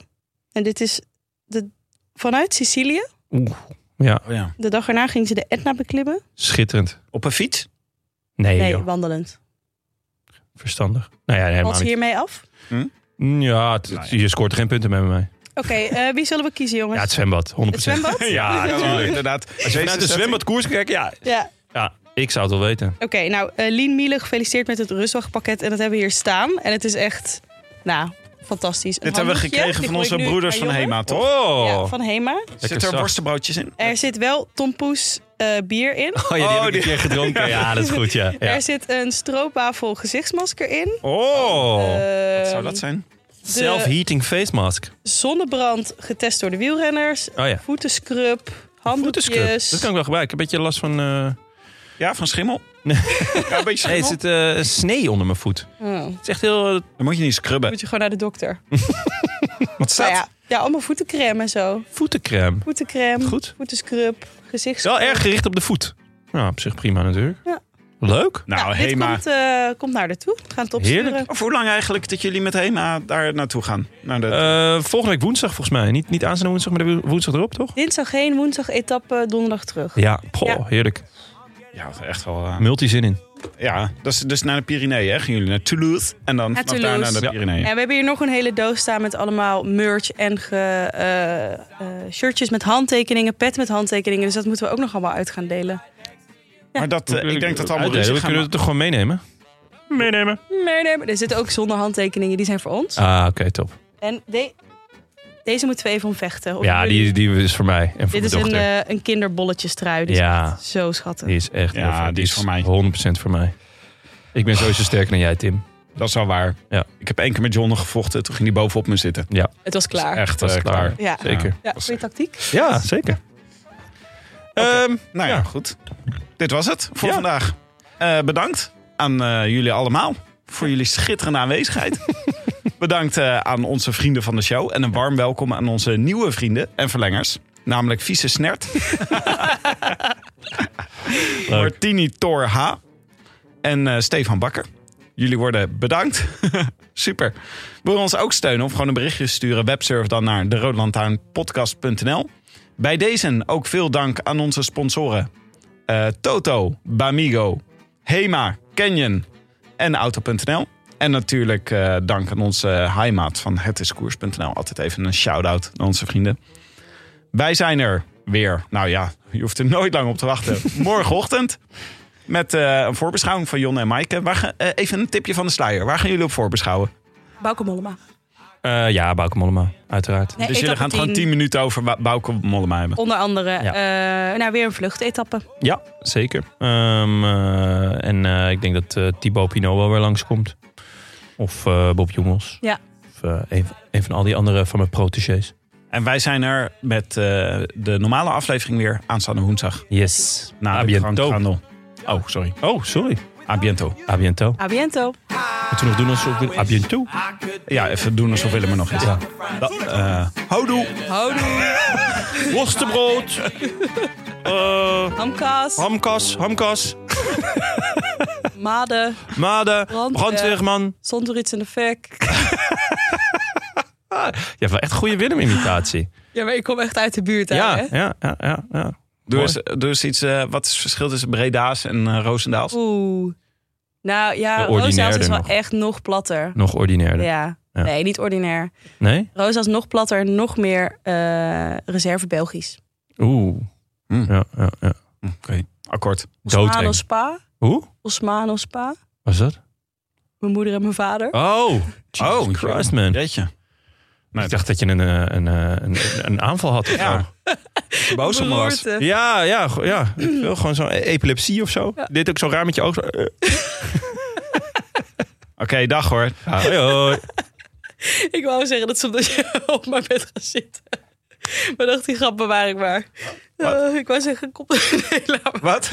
D: En dit is de, vanuit Sicilië.
A: Ja,
B: Oh ja.
D: De dag erna ging ze de Etna beklimmen.
A: schitterend.
B: Op een fiets?
A: Nee,
D: Nee,
A: joh.
D: wandelend.
A: verstandig. Nou ja, nee,
D: Wat
A: helemaal niet.
D: hiermee af?
A: Ja, het- het- je scoort geen punten meer bij mij.
D: Oké, eh, wie zullen we kiezen,
A: Ja,
D: jongens?
A: het zwembad, 100%.
D: het
A: *laughs*
D: zwembad?
A: Ja,
B: Ja,
A: natuurlijk.
B: inderdaad.
A: Als je vanuit een zwembad koers kijkt, ja.
D: Ja.
A: Ja, ik zou het wel weten.
D: Oké, nou, eh, Lien Miele, gefeliciteerd met het rustwachtpakket. En dat hebben we hier staan. En het is echt, nou, Fantastisch. Een
B: Dit hebben we
D: handdoekje,
B: gekregen
D: die
B: van
D: gooi ik
B: onze
D: nu
B: broeders
D: naar
B: van
D: Jonne. Ehm.
B: Hema, toch?
A: Oh.
D: Ja, van Hema.
B: Zit er
A: zacht.
B: worstenbroodjes in?
D: Er zit wel tompoes eh, bier in.
A: Oh, ja, die heb ik
B: die-
A: een keer gedronken. Ja, dat is goed, ja. ja.
D: Er zit een stroopwafel gezichtsmasker in.
A: Oh.
D: Ehm,
B: Zou dat zijn?
A: Self-heating face mask.
D: zonnebrand getest door de wielrenners.
A: Oh ja.
D: Voetenscrub,
A: Voetenscrub.
D: handdoekjes.
A: Dat kan ik wel gebruiken. Een beetje last van... eh,
B: Ja, van *laughs* schimmel?
A: Nee.
B: Ja, een beetje
A: Nee, er
B: schimmel.
A: zit eh, snee onder mijn voet.
D: Oh,
A: Het is echt heel... eh,
B: Dan moet je niet scrubben.
D: moet je gewoon naar de dokter.
B: Wat
D: Nou
B: staat?
D: ja, ja, allemaal voetencrème en zo.
A: voetencrème.
D: Voetencrème,
A: Goed.
D: voetenscrub,
A: Het
D: gezichtscrub.
A: is wel erg gericht op de voet. Nou, op zich prima natuurlijk.
D: Ja.
A: Leuk.
B: Nou,
D: dit
B: Hema.
D: komt, eh, komt naar de toe. We gaan het opsturen.
A: Heerlijk.
B: Of hoe lang eigenlijk dat jullie met Hema daar naartoe gaan? Naar de...
A: Eh, volgende week woensdag volgens mij. Niet, niet aanstaande woensdag, maar de wo- woensdag erop, toch?
D: Dinsdag heen, woensdag etappe, donderdag terug.
A: Ja, Goh,
D: Ja.
A: heerlijk.
B: ja, echt wel... eh,
A: Multizin in.
B: ja, dat is dus naar de Pyreneeën, hè? Gaan jullie naar Toulouse en dan vanaf
D: Toulouse.
B: daar naar de
A: Ja.
B: Pyreneeën.
D: En we hebben hier nog een hele doos staan met allemaal merch en ge, eh, eh, shirtjes met handtekeningen, pet met handtekeningen. Dus dat moeten we ook nog allemaal uit gaan delen.
B: Maar dat, eh, ik denk dat allemaal
A: Uitdelen,
B: ruzie
A: We
B: gaan
A: kunnen het toch gewoon meenemen? Meenemen.
D: Nee, nee, maar er zitten ook zonder handtekeningen, die zijn voor ons.
A: Ah, oké, top.
D: En de- deze moet twee van vechten. Of
A: Ja,
D: jullie-
A: die, die is voor mij en voor
D: Oh, Dit is
A: mijn
D: een,
A: dochter.
D: eh een kinderbolletjestrui. Die is
A: ja,
D: echt zo schattig.
A: die is echt
B: Ja,
A: heel vet.
B: die is voor mij.
A: 100% voor mij. Ik ben sowieso sterker dan jij, Tim.
B: Dat is wel waar.
A: Ja.
B: Ik heb één keer met John nog gevochten. Toen ging hij bovenop me zitten.
D: Het was klaar.
B: Echt
A: Dat is
B: eh, klaar.
A: klaar.
D: ja.
A: Zeker.
D: Ja, goede tactiek.
A: Ja, zeker. Ehm,
B: Nou ja,
A: Ja.
B: goed. Dit was het voor
A: Ja.
B: vandaag. Eh, bedankt aan eh, jullie allemaal voor jullie schitterende
A: *laughs*
B: aanwezigheid. bedankt eh, aan onze vrienden van de show. En een warm welkom aan onze nieuwe vrienden en verlengers. Namelijk Vieze Snert,
A: *laughs* leuk.
B: Martini Thor H. En eh, Stefan Bakker. Jullie worden bedankt. *laughs* Super. Wil je ons ook steunen of gewoon een berichtje sturen? Websurf dan naar deroodlantaarnpodcast.nl. Bij deze ook veel dank aan onze sponsoren. Eh, Toto, Bamigo, Hema, Canyon en Auto.nl. En natuurlijk eh, dank aan onze heimaat van hetiskoers.nl. Altijd even een shout-out naar onze vrienden. Wij zijn er weer. Nou ja, je hoeft er nooit lang op te wachten. Morgenochtend. Met eh, een voorbeschouwing van Jon en Maaike. Waar ga- eh, even een tipje van de sluier. Waar gaan jullie op voorbeschouwen?
D: Bauke Mollema.
A: Eh, ja, Bauke Mollema, uiteraard.
D: Nee,
B: dus jullie gaan
D: etappe
B: het gewoon 10
D: tien.
B: minuten over Ba- Bauke Mollema hebben.
D: Onder andere eh, nou, weer een vluchtetappe.
A: Ja, zeker. Ehm, eh, en eh, ik denk dat eh Thibaut Pinot wel weer langskomt. Of eh, Bob Jongels.
D: Ja.
A: Of eh, een, van- een van al die andere van mijn protégés.
B: En wij zijn er met eh, de normale aflevering weer aanstaande woensdag.
A: Yes.
B: Na
A: Na
B: de
A: Abiento.
B: drankhandel. Oh, sorry.
A: Oh, sorry.
B: Abiento.
A: Abiento.
D: A biento.
A: Moeten we nog doen alsof we... Abiento?
B: Ja, even doen alsof Willem er nog is. Ja. Eh houdoe.
D: Houdoe.
A: Worstenbrood.
D: Hamkas.
A: Hamkas. Hamkas.
D: Made.
A: Made.
D: Brandweer.
A: Brandweerman.
D: Zonder iets in de fik.
A: Je hebt wel echt goede
D: *laughs*
A: Willem-imitatie.
D: Ja, maar ik kom echt uit de buurt.
A: Ja,
D: Hè?
A: ja, ja, ja, ja.
B: Doe
A: Mooi.
B: eens, doe eens iets. eh, wat is het verschil tussen Breda's en eh, Roosendaals?
D: Oeh. Nou ja,
A: De
D: Rosa's
A: ordinairder
D: is wel
A: nog.
D: echt nog platter.
A: Nog ordinairder.
D: Ja.
A: Ja.
D: Nee, niet ordinair.
A: Nee?
D: Rosa's nog platter, nog meer eh, reserve Belgisch.
A: Oeh.
B: Mm.
A: Ja, ja, ja.
B: Oké, akkoord.
A: Doodeng.
D: Osmano Spa.
A: Hoe?
D: Osmano Spa.
A: Was dat?
D: Mijn moeder en mijn
A: *laughs*
D: vader.
A: Oh. Jesus
B: Oh,
A: Christ, man.
B: Jeetje.
A: Ik dacht dat je een, eh, een, eh, een, een aanval had. of zo.
B: Ja. Boos om me was.
D: Beroerte.
A: Ja, ja, go- ja. Ik wil gewoon zo'n e- epilepsie of zo. Dit ook zo raar met je ogen. Eh,
B: Oké, dag hoor.
A: Ah, hoi, hoi.
D: Ik wou zeggen dat ze omdat je *laughs* op mijn bed gaat zitten. Maar dacht, die grap bewaar ik maar. Eh, ik wou zeggen, kom... *laughs* Nee, laat maar.
B: Wat?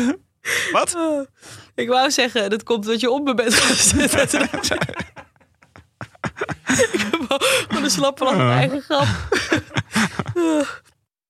B: Wat?
D: Eh, ik wou zeggen, dat komt dat je op mijn bed gaat
A: *laughs*
D: zitten. *laughs* Toen dacht ik- ik heb al van de slappe lach op mijn eigen grap. Eh,